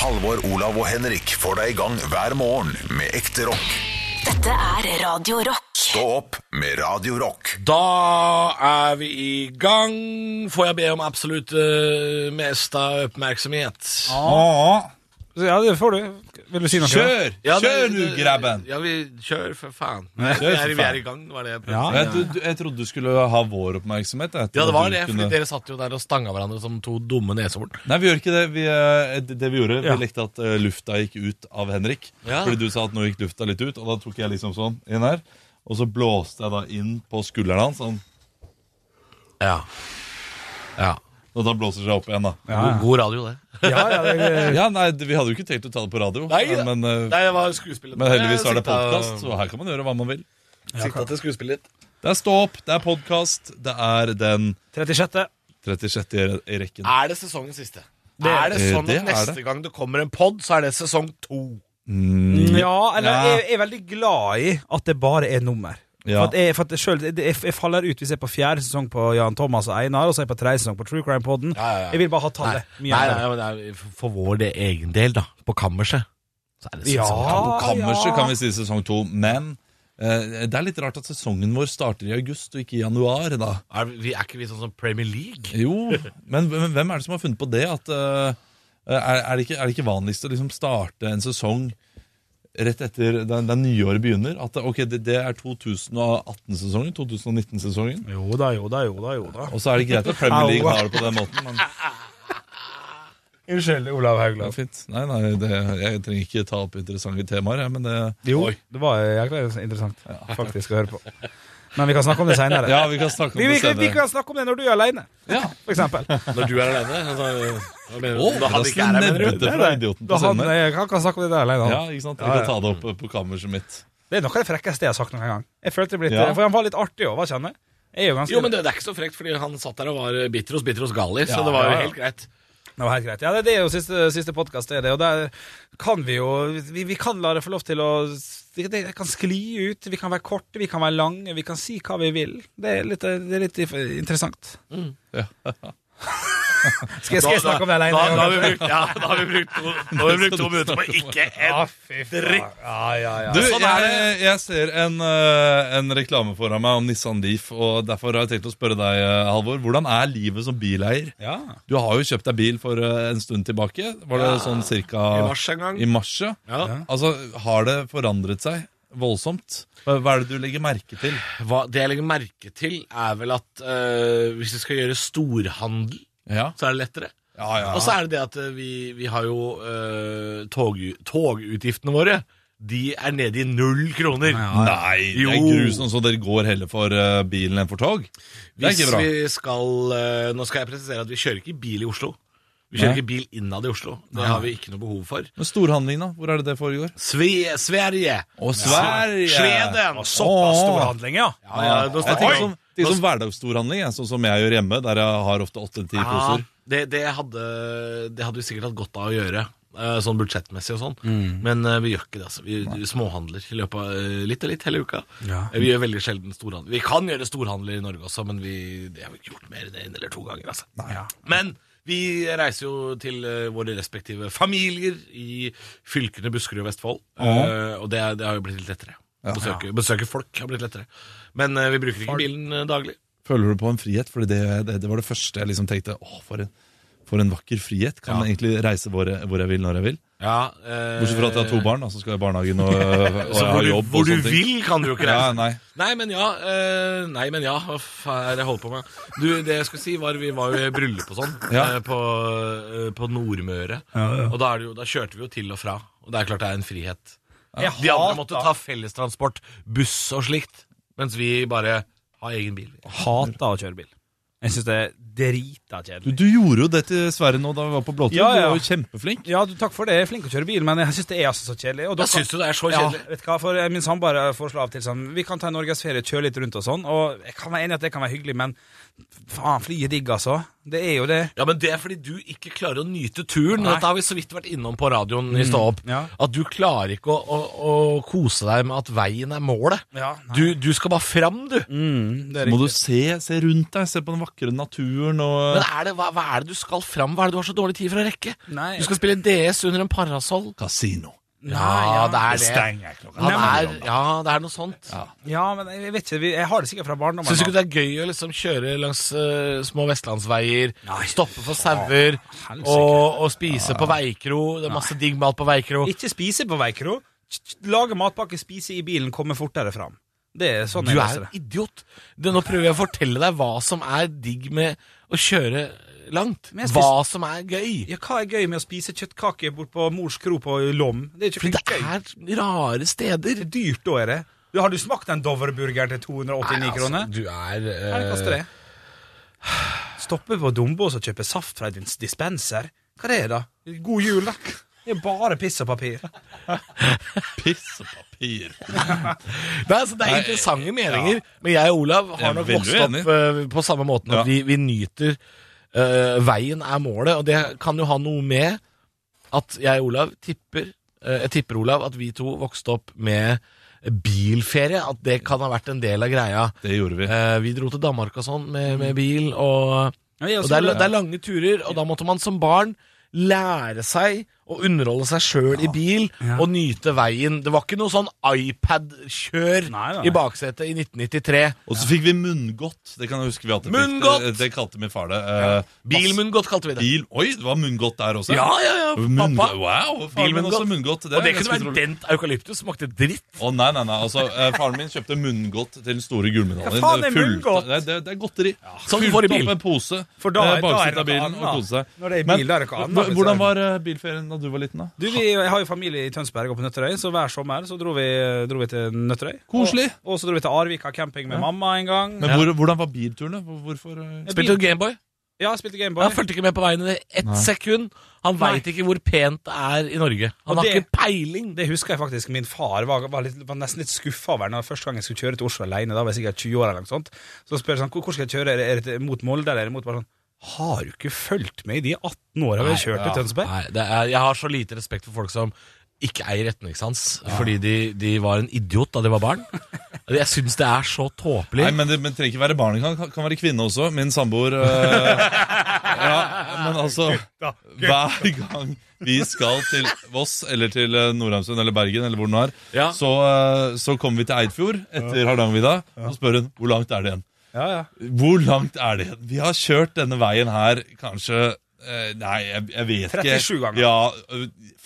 Halvor, Olav og Henrik får deg i gang hver morgen med ekte rock. Dette er Radio Rock. Stå opp med Radio Rock. Da er vi i gang. Får jeg be om absolutt eh, meste oppmerksomhet? Ja. ja, det får du. Vil du si noe? Kjør! Ja, det- Kjør nå, det- grabben! Ja, vi kjør, for faen. Kjør, for vi, er, vi er faen. i gang, det var det jeg Ja. prøvde. å si. Jeg, tro- jeg trodde du skulle ha vår oppmerksomhet. jeg, til Ja, det at var du det, kunne- fordi dere satt jo der og stanga hverandre som to dumme neshorn. Nei, vi gjør ikke det. Vi, eh, det- det vi gjorde, Ja. vi likte at eh, lufta gikk ut av Henrik. Ja. Fordi du sa at nå gikk lufta litt ut, og da tok jeg liksom sånn inn her. Og så blåste jeg da inn på skulderen hans, sånn, Ja. ja. og da blåser det seg opp igjen, da. Ja, God, god radio, det. Ja, ja, det, nei, det- Vi hadde jo ikke tenkt å ta det på radio, Nei, da. men, eh, Nei, det var skuespillet. men heldigvis er det Sikta- podkast, så her kan man gjøre hva man vil. Sikta til skuespillet. Det er Stå opp, det er podkast, det er den 36. 36. i re- i rekken. Er det sesongens siste? er det Eh, sånn det at er neste det. gang det kommer en pod, så er det sesong to? Ja, eller Ja. Jeg, jeg er veldig glad i at det bare er nummer. Ja. For at jeg, for at jeg, selv, jeg, jeg faller ut hvis jeg er på fjerde sesong på Jan Thomas og Einar, og så er jeg på tredje sesong på True Crime Podden. Ja, ja, ja. Jeg vil bare ha tallet. Nei, Mye nei, heller. nei, men det er for vår det egen del, da. På kammerset. Så er det Ja. sesong På to. kammerset ja. kan vi si sesong to, men eh, det er litt rart at sesongen vår starter i august og ikke i januar, da. Er, vi, er ikke vi sånn som Premier League? Jo, men, men hvem er det som har funnet på det? At, eh, er, er, det ikke, er det ikke vanligst å liksom starte en sesong rett etter den, den nyåret begynner? At ok, det, det er 2018-sesongen, 2019-sesongen. Jo da, jo da, jo da. jo da Og så er det greit at Premier League har det på den måten, men det Unnskyld, Olav er Haugland. fint. Nei, nei, det, jeg trenger ikke ta opp interessante temaer, jeg, men det Jo, Oi. det var eh, jækla interessant faktisk å høre på. Men vi kan snakke om det seinere. Ja, vi kan snakke om vi, det vi, kan- vi senere. kan snakke om det når du er aleine, Ja. for eksempel. Når du er alene? altså, Så, Å, da han ikke er her, mener du? nebbete fra idioten Da på han, scenen. jeg kan, kan snakke om det der alene. han. Ja, ikke sant? Jeg Ja, kan ja. ta det opp eh, på kammerset mitt. Det er noe av det frekkeste jeg har sagt noen gang. Jeg følte det ble litt, Ja. For han var litt artig òg, hva kjenner jeg? Jeg er jo ganske Jo, men det, det er ikke så frekt, fordi han satt der og var bitros, bitros gali, så Ja, det var jo ja, ja. helt greit. Det var helt greit. Ja, det, det er jo siste, siste podkast, det er det. Og der kan vi jo Vi, vi kan la det få lov til å det, det kan skli ut. Vi kan være korte, vi kan være lange, vi kan si hva vi vil. Det er litt, det er litt interessant. Ja. Skal jeg, skal jeg snakke om det Mm. Da, da, da, har aleine? vi brukt, ja, da har vi brukt to, da har vi brukt to minutter på ikke en dritt. Ja, ja, ja. Du, sånn er jeg, jeg ser en, eh, en reklame foran meg om Nissan Leaf, og derfor har jeg tenkt å spørre deg, eh, Halvor. Hvordan er livet som bileier? ja. Du har jo kjøpt deg bil for eh, en stund tilbake. Var det sånn cirka I mars en gang. I mars, ja. Ja. Altså, har det forandret seg voldsomt? Hva hva er det du legger merke til? Hva, det jeg legger merke til, er vel at eh, hvis vi skal gjøre storhandel, Ja, så er det lettere. ja, ja. Og så er det det at eh, vi, vi har jo eh, tog, togutgiftene våre. De er nede i null kroner. Nei, det er Jo. grusomt, så dere går heller for eh, bilen enn for tog? Det er Hvis ikke bra. vi skal eh, Nå skal jeg presisere at vi kjører ikke bil i Oslo. Vi kjører Nei. ikke bil innad i Oslo. Det har vi ikke noe behov for. Men storhandling, da? Hvor er det det foregår? Sve, Sverige! Å, Sverige! Sveden! Såpass storhandling, ja. Ja, ja, sånn- nå Jeg snakker tenker vi som, om det er som hverdagsstorhandling, jeg, sånn som jeg gjør hjemme, der jeg har ofte åtte-ti ja, poser. det, det, hadde, det hadde vi sikkert hatt godt av å gjøre. eh, Sånn budsjettmessig og sånn. Mm. Men eh, vi gjør ikke det. altså Vi vi småhandler i løpet av eh, litt og litt hele uka. Ja. Eh, Vi gjør veldig sjelden storhandel. Vi kan gjøre storhandler i Norge også, men vi, det har vi ikke gjort mer enn en eller to ganger. altså ja. Men vi reiser jo til eh, våre respektive familier i fylkene Buskerud og Vestfold. eh, og det, er- det har jo blitt litt lettere. Besøke, besøke folk har blitt lettere. Men eh, vi bruker ikke bilen eh, daglig. Føler du på en frihet? Fordi det, det, det var det første jeg liksom tenkte. Å, for en, for en vakker frihet. Kan jeg egentlig reise hvor jeg, hvor jeg vil, når jeg vil. Ja, eh, Bortsett fra at jeg har to barn, da, som skal i barnehagen og, og Så hvor, jeg har du, jobb. hvor og du sånne ting. vil, kan du jo ikke Ja, reise. nei. Nei, men ja. eh, nei, men ja. Hva faen er det jeg holder på med? Du, det jeg skulle si, var vi var jo i bryllup og sånn Ja. eh, på, eh, på Nordmøre. Og da, er det jo, da kjørte vi jo til og fra. Og det er klart det er en frihet. Jeg De andre hater- måtte ta fellestransport, buss og slikt, mens vi bare har egen bil. hater å kjøre bil. Jeg syns det er drita Du, kjedelig. du gjorde jo det til Sverre nå da vi var på Blåtur. Ja, ja. Du var jo kjempeflink. Ja, du, takk for det. Jeg er flink til å kjøre bil, men jeg syns det er altså så kjedelig. Og da Da kan- syns du det er så ja, kjedelig. vet du hva, for eh, Min samboer foreslo av og til sånn Vi kan ta en norgesferie, kjøre litt rundt og sånn. Og jeg kan være enig i at det kan være hyggelig, men faen, flyet digg, altså. Det er jo det. Ja, men Det er fordi du ikke klarer å nyte turen. Dette har vi så vidt vært innom på radioen i Stå opp. ja. At du klarer ikke å, å, å kose deg med at veien er målet. Ja, nei. du, du skal bare fram, du. Mm, det er Må riktig. du se, se rundt deg, se på den vakre naturen og Men er det, hva, hva er det du skal fram? Hva er det du har så dårlig tid for å rekke? Nei. Du skal spille DS under en parasoll. Kasino. Ja, det er det. stenger klokka Han ni er, om natten. ja, det er noe sånt. Ja, men jeg vet ikke, vi- jeg har det sikkert fra barndommen. Syns du ikke det av. er gøy å liksom kjøre langs eh, små vestlandsveier, Nei. stoppe for sauer helsike. og, og spise på veikro? Det er masse digg mat på veikro. Ikke spise på veikro. Lage matpakke, spise i bilen, komme fortere fram. Det er sånn Du jeg er leser en det. idiot. Du, nå prøver jeg å fortelle deg hva som er digg med å kjøre langt. Men jeg spis- Hva som er gøy. Ja, hva er gøy med å spise kjøttkake bort på mors kro på Lom? Det er ikke Fordi det gøy. er rare steder. Det er dyrt, da er det. Ja, har du smakt den Dovre-burgeren til 289 Nei, altså, kroner? Du er Hva er det koster eh, det? Stoppe på Dombås og kjøpe saft fra din dispenser? Hva er det, da? God jul, da. Det er bare piss og papir. Piss og papir. Nei, altså, det er interessante meninger, men jeg og Olav Jeg er har nok veldig vokst opp uenig. eh, på samme måten. At Ja. vi, vi nyter eh, veien er målet, og det kan jo ha noe med at jeg og Olav tipper eh, Jeg tipper, Olav, at vi to vokste opp med bilferie. At det kan ha vært en del av greia. Det gjorde vi. Eh, vi dro til Danmark og sånn med, med bil, og, og det, er, det er lange turer, og da måtte man som barn lære seg å underholde seg sjøl i bil og nyte veien. Det var ikke noe sånn iPad-kjør Nei, nei, nei. i baksetet i 1993. Og så fikk vi munngodt. Det kan jeg huske vi hadde. Munngodt! Det, det kalte min far det. Eh, Bilmunngodt kalte vi det. Bil. Oi, det var munngodt der også? Ja, ja, ja, Munn- pappa. Wow, faren min Bilmunngodt. også munngodt. Og det er kunne ganske være utrolig. dent eukalyptus. Smakte dritt. Å nei, nei, nei, altså eh, Faren min kjøpte munngodt til den store gullmedaljen. Hva faen er Det fulgte- munngodt? Det, det, det er godteri. Sånn Som du får i Fylte bil. opp en pose For da- eh, da er baksiden av det noe bilen og annet. kose seg. Når det er i Men, bil, da er det noe annet, hva- hvis det er- Hvordan var eh, bilferien da du var liten? da? Du, vi, jeg har jo familie i Tønsberg og på Nøtterøy, så hver sommer så dro vi, dro vi til Nøtterøy. Koselig. Og, og så dro vi til Arvika camping med mamma en gang. Men hvor, hvordan var bilturene? Hvor- Hvorfor eh, Spilte du Gameboy? Ja, spilte Gameboy. Han fulgte ikke med på veien i ett sekund. Han Nei. veit ikke hvor pent det er i Norge. Og Han har det- ikke peiling. Det husker jeg faktisk. Min far var, var, litt, var nesten litt skuffa over når første gang jeg skulle kjøre til Oslo alene. Da var jeg sikkert 20 år eller noe sånt. Så spør jeg sånn, hvor hvor skal jeg kjøre? Er det, er det til- mot Molde eller er det mot bare sånn, Har du ikke fulgt med i de 18 åra vi har kjørt til Tønsberg? Nei, det er, jeg har så lite respekt for folk som ikke eier retningssans fordi de, de var en idiot da de var barn. Jeg syns det er så tåpelig. Nei, men det men det trenger ikke være barn. Det kan, kan være kvinne også. Min samboer eh, Ja, men altså Hver gang vi skal til Voss eller til eh, Nordheimsund eller Bergen, eller hvor den er, Ja. så, eh, så kommer vi til Eidfjord etter Hardangervidda, og spør hun hvor langt er det igjen. Ja, ja. Hvor langt er det igjen? Vi har kjørt denne veien her kanskje eh, Nei, jeg, jeg vet 37 ikke. ganger. Ja,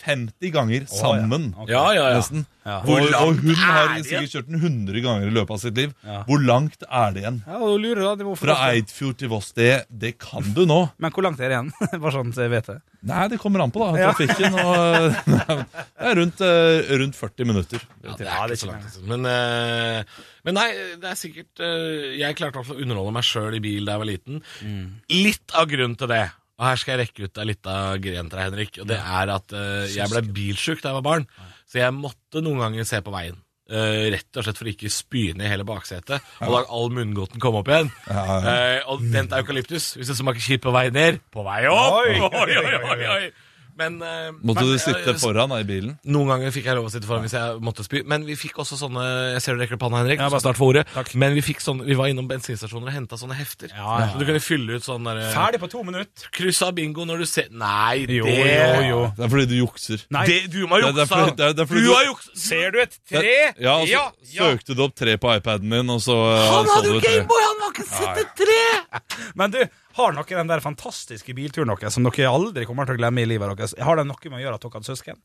50 ganger sammen. Ok. ja, ja, ja. Nesten. Ja. Hvor Hvor og, og hun har er det igjen? sikkert kjørt den 100 ganger i løpet av sitt liv. Ja. Hvor langt er det igjen? Ja, og lurer da, det var Fra Eidfjord til Voss, det, det kan du nå. Men hvor langt er det igjen? Bare sånn at jeg vet det. Nei, det kommer an på, da. Trafikken og Det er rundt, eh, rundt 40 minutter. Ja, det er ikke så langt. liksom. Men, eh, men nei, det er sikkert eh, Jeg klarte i hvert fall å underholde meg sjøl i bil da jeg var liten. Mm. Litt av grunnen til det, og her skal jeg rekke ut ei lita gren til deg, Henrik, og det er at eh, jeg ble bilsjuk da jeg var barn, så jeg måtte noen ganger se på veien. Eh, rett og slett for ikke spyne i hele baksetet, og da all munngodten kom opp igjen. Ja, ja. Eh, og dent eukalyptus, hvis det smaker kjipt på vei ned, på vei opp! Oi. Oi, oi, oi, oi. Men, eh, Måtte men, du eh, sitte foran da, i bilen? noen ganger fikk jeg lov å sitte foran hvis jeg måtte spy. Men vi fikk også sånne Jeg ser du rekker opp hånda, Henrik. Ja, bare så snart for ordet. Men vi, fikk sånne, vi var innom bensinstasjoner og henta sånne hefter. Ja, ja, ja. Så du kunne fylle ut sånn derre Ferdig på to minutter. Kryss av bingo når du ser Nei, det Jo, jo, jo. Det er fordi du jukser. Nei. Det, du må ha Det er juksa! derfor- det er- det er fordi du du- har juksa! Ser du et Det- tre? Ja, altså, og så ja, ja. søkte du opp tre på iPaden min, og så eh, Han så hadde du jo tre. Gameboy! Han har ikke sett et tre! Men du, har dere den der fantastiske bilturen deres som dere aldri kommer til å glemme i livet deres? Har det noe med å gjøre at dere hadde søsken?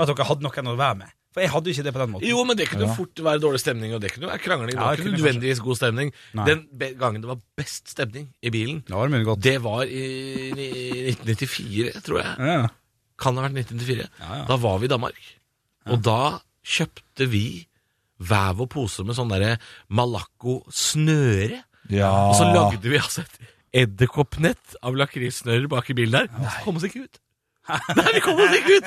At dere hadde noen å være med? For jeg hadde jo ikke det på den måten. Jo, men det kunne fort være dårlig stemning, og det kunne være krangling. Det Ja, var det ikke kunne nødvendigvis god stemning. Nei. Den be- gangen det var best stemning i bilen, Det var mulig godt. det var i i 1994, tror jeg. Ja, ja. kan det ha vært 1994. Ja, ja. Da var vi i Danmark. Og da kjøpte vi hver vår pose med sånn derre Malacco-snøre. Ja. Og så lagde vi altså et edderkoppnett av lakrissnører bak i bilen der. Vi kom oss ikke ut. Nei, vi kom oss ikke ut!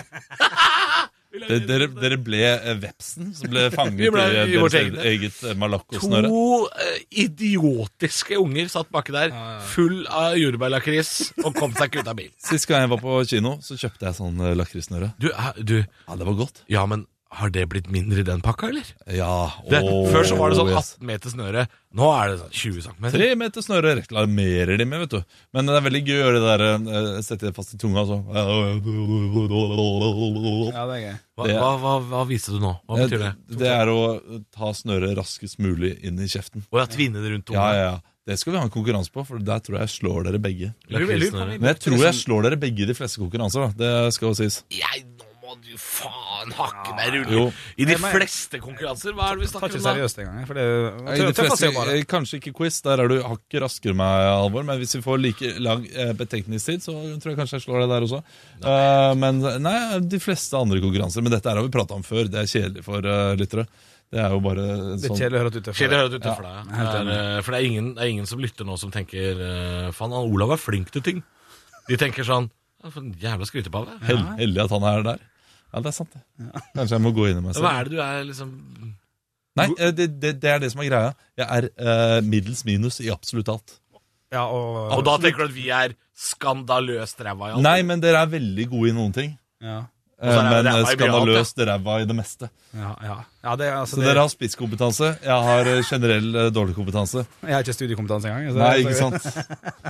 Dere, dere, dere ble eh, vepsen som ble fanget Vi ble i i, deres vårt eget, eget. eget eh, malakkosnøre. To eh, idiotiske unger satt baki der, full av jordbærlakris, og kom seg ikke ut av bilen. Sist gang jeg var på kino, så kjøpte jeg sånn eh, lakrissnøre. Du, eh, du, Ja, det var godt. ja, men har det blitt mindre i den pakka, eller? Ja, Det, åh, før så var det sånn yes. 18 meter snøre. Nå er det sånn 20 cm. Tre meter snøre reklamerer de med, vet du. Men det er veldig gøy å gjøre det der eh, Sette det fast i tunga, så Ja, det er gøy. Hva, Det- hva, hva, hva viste du nå? Hva betyr det? Det, er å ta snøret raskest mulig inn i kjeften. Å ja, tvinne det rundt Ja, ungene. ja, ja. Det skal vi ha en konkurranse på, for der tror jeg jeg slår dere begge. Lakrissnøre. Men jeg tror jeg slår dere begge i de fleste konkurranser, da. Det skal jo sies. Jeg, nå må du faen hakke meg Jo. rulle. I de Jeg mener- fleste konkurranser, hva er det vi Tar snakker ikke om da? seriøst engang. jeg, For det I de tø- tøffa seg fleste, jo bare. eh, kanskje ikke quiz, der er du hakket raskere enn meg, Alvor. Men hvis vi får like lang eh, betenkningstid, så tror jeg kanskje jeg slår deg der også. Eh, men nei, de fleste andre konkurranser. Men dette her har vi prata om før, det er kjedelig for eh, lyttere. Det er jo bare en Litt sånn kjedelig å høre at du tøffer Kjedelig å høre deg. at du tøffer deg. Det er, eh, For det er ingen, det er ingen som lytter nå som tenker eh, Faen, han Olav er flink til ting. De tenker sånn «Ja, For en jævla skrytepave. hell, heldig at han er der. Ja, det er sant, det. Kanskje jeg må gå inn i meg Hva selv. er det du er liksom Nei, eh, det, det, det er det som er greia. Jeg er eh, middels minus i absolutt alt. Ja, og, Og da tenker du at vi er skandaløst ræva i alt? Nei, men dere er veldig gode i noen ting. ja, Eh, så er dere Men eh, ræva i mye annet, ja. skandaløst ræva i det meste. ja, ja. ja det, er- altså, Så det, dere har spisskompetanse. Jeg har eh, generell eh, dårlig kompetanse. Jeg har ikke studiekompetanse engang. så- Nei, ikke sant?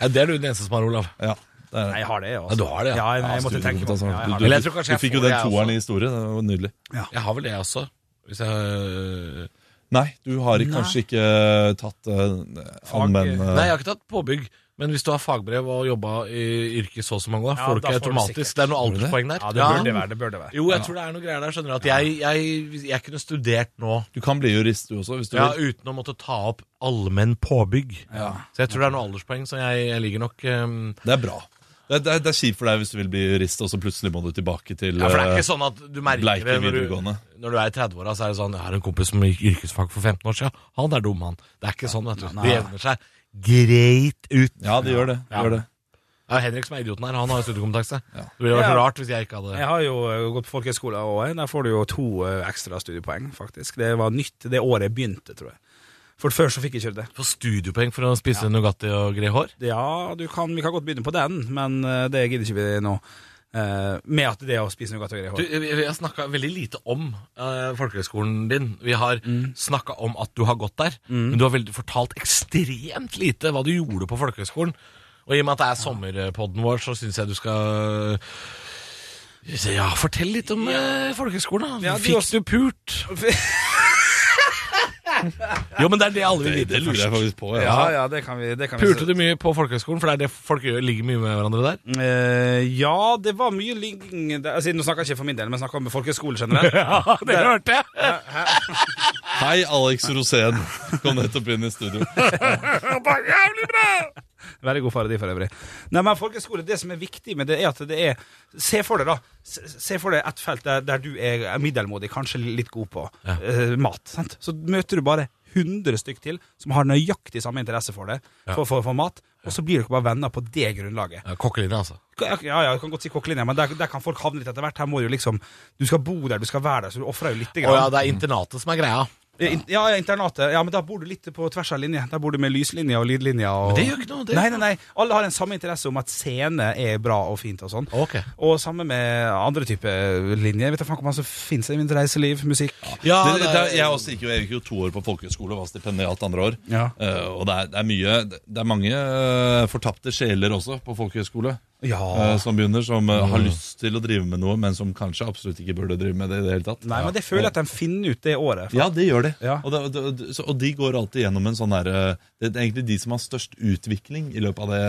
Ja, det er du den eneste som har, Olav. Ja, det er Nei, det. jeg har det, også. Ja, du har det, ja. ja. nei, jeg måtte tenke på Studiekompetanse. det. Ja, jeg har Du- det. Men jeg tror du, kanskje du jeg fikk får jo den det, altså. jeg toeren også. i historie. Det var nydelig. Jeg har vel det også. Hvis jeg Nei, du har ikke- kanskje ikke eh, tatt uh, Fag- allmenn eh, Nei, jeg har ikke tatt påbygg. Men hvis du har fagbrev og jobba i yrket så og så mange år, Ja, får du da ikke får du sikkert. automatisk. Det er noe du det? alderspoeng der. altså. Ja, det bør det være. Det bør det være. Jo, jeg tror det er noe greier der. Skjønner du at jeg, jeg, jeg kunne studert nå Du kan bli jurist, du også, hvis du ja, vil. uten å måtte ta opp allmenn påbygg. Så jeg tror det er noe alderspoeng, så jeg, jeg ligger nok ehm, Det er bra. Det, er- det, er- det er kjipt for deg hvis du vil bli jurist, og så plutselig må du tilbake til Ja, for det er eh, ikke sånn at du merker Bleike det når du, videregående. når du er i 30-åra. Så er det sånn 'Jeg har en kompis som gikk yrkesfag for 15 år siden. Han er dum, han.' Det er ikke sånn, vet du. Det jevner seg greit ut. Ja, det gjør det. det, gjør det. Det er Henrik som er idioten her. Han har jo studiekompetanse. Ja. Det ville vært Ja. rart hvis jeg ikke hadde Jeg har jo eh, gått på folkehøyskole òg. Der får du jo to eh, ekstra studiepoeng, faktisk. Det var nytt det året jeg begynte, tror jeg. For før så fikk jeg ikke det. Få studiepoeng for å spise Nugatti og gre hår? Ja, du kan, vi kan godt begynne på den, men eh, det gidder ikke vi nå. Eh, med at det å spise nougat og greier. Du, vi vi har snakka veldig lite om eh, folkehøgskolen din. Vi har snakket snakka om at du har gått der, men du har veldig, fortalt ekstremt lite hva du gjorde på folkehøgskolen. Og i og med at det er sommerpodden vår, så syns jeg du skal Ja, fortell litt om eh, folkehøgskolen, da. Ja, du Fikk du også- pult? Jo, men det er det alle vil Det, vite lurer jeg først. faktisk på. Ja. Ja, ja, det kan vi, det kan vi Pulte du mye på folkehøgskolen? For det er det folk gjør, ligger mye med hverandre der. Eh, ja, det var mye ligging der. altså, Nå snakker jeg ikke for min del, men jeg snakker om folkehøyskole generelt. Ja, det hørte jeg! Hei, Alex Rosén. Kom nettopp inn i studio. Veldig god faredi for øvrig. Nei, men folkehøyskole, det som er viktig med det, er at det er Se for deg, da. Se se for deg et felt der, der du er middelmådig, kanskje litt god på eh, mat. sant? Så møter du bare 100 stykk til som har nøyaktig samme interesse for det, for, for, for mat, og så blir dere bare venner på det grunnlaget. Ja, Kokkelinja, altså. Ja, ja, jeg kan godt si kokkelinja, men der, der kan folk havne litt etter hvert. Her må du jo liksom Du skal bo der, du skal være der, så du ofrer jo lite Å grann. ja, det er internatet som er greia. Ja, in- ja, ja, internatet. Ja, men da bor du litt på tvers av linje. Der bor du med lyslinja og lydlinja. Og... Men det gjør ikke noe, det gjør nei, ikke nei, nei. Alle har en samme interesse om at scene er bra og fint og sånn. Ok. Og samme med andre typer linjer. Vet du faen hva som finnes i mitt reiseliv, musikk det, det, er- jeg også gikk jo, jeg gikk jo to år på folkehøyskole og var stipendiat andre år. Ja. Eh, og det er, det er mye Det er mange eh, fortapte sjeler også på folkehøyskole eh, Ja. Mm. som begynner, som eh, har lyst til å drive med noe, men som kanskje absolutt ikke burde drive med det i det hele tatt. Nei, men det føler jeg at de finner ut det året. Ja, det gjør de. Ja. Og, det, og, det- og det, så, og de går alltid gjennom en sånn derre Det er egentlig de som har størst utvikling i løpet av det,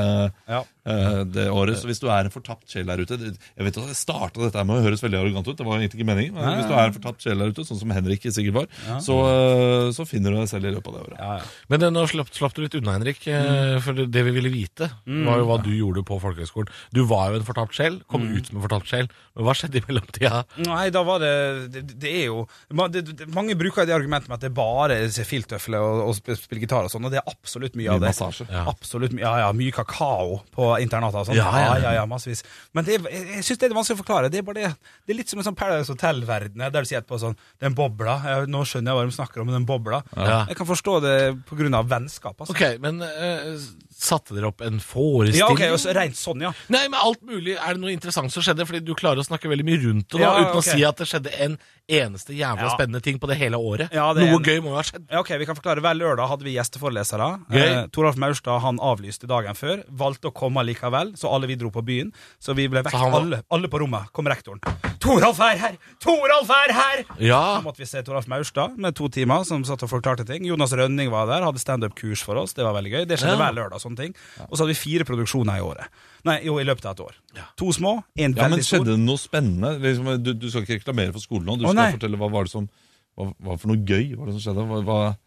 Ja. eh, det året. Så hvis du er en fortapt sjel der ute det, Jeg vet at jeg starta dette her med å høres veldig arrogant ut, det var egentlig ikke meningen. Men hvis du er en fortapt sjel der ute, sånn som Henrik sikkert var, så, eh, så finner du deg selv i løpet av det året. Ja, ja. Mm. Men eh, nå slapp, slapp du litt unna, Henrik. eh, For det, det vi ville vite, var jo hva du gjorde på folkehøgskolen. Du var jo en fortapt sjel, kom Mm. ut som en fortapt sjel, men hva skjedde i mellomtida? Nei, da var det Det, det er jo ma- det, det, Mange bruker det argumentet med at det er bare er filtøfler og, og sp- spille gitar og sånn, og det er absolutt mye, Mye av det. massasje. Ja. Absolutt mye, ja, ja, mye kakao på internatet og sånn. Ja, Ja, ja, ja. ja, massevis. Men det, er- jeg, jeg syns det er vanskelig å forklare. Det er bare det Det er litt som en sånn Paradise Hotel-verden, der du sier etterpå sånn Den bobla. Jeg, nå skjønner jeg hva de snakker om, den bobla. Ja. Jeg kan forstå det på grunn av vennskap, altså. Ok, men eh, satte dere opp en forestilling? Ja, ok, og så rent sånn, ja. Nei, men alt mulig. Er det noe interessant som skjedde? Fordi du klarer å snakke veldig mye rundt det da, Ja, uten ok. å si at det skjedde en eneste jævla Ja. spennende ting på det hele året. Ja, det er noe en- gøy må jo ha skjedd. Ja, ok, vi kan forklare. Hver lørdag hadde vi gjesteforelesere. Gøy. Eh, Toralf Maurstad han avlyste dagen før. Valgte å komme likevel, så alle vi dro på byen. Så vi ble vekk. Så han var- Alle, alle på rommet kom rektoren. 'Toralf er her! Toralf er her!' Ja, Da måtte vi se Toralf Maurstad med to timer, som satt og forklarte ting. Jonas Rønning var der, hadde standup-kurs for oss. Det var veldig gøy. Det skjedde Ja. hver lørdag. sånne ting Og så hadde vi fire produksjoner i året. Nei, jo, i løpet av et år. To små, én Ja, men veldig stor. skjedde det noe spennende? Liksom, du, du skal ikke reklamere for skolen nå. Du Å, skal nei. fortelle hva var det som hva, hva for noe gøy var det som skjedde? Hva, hva,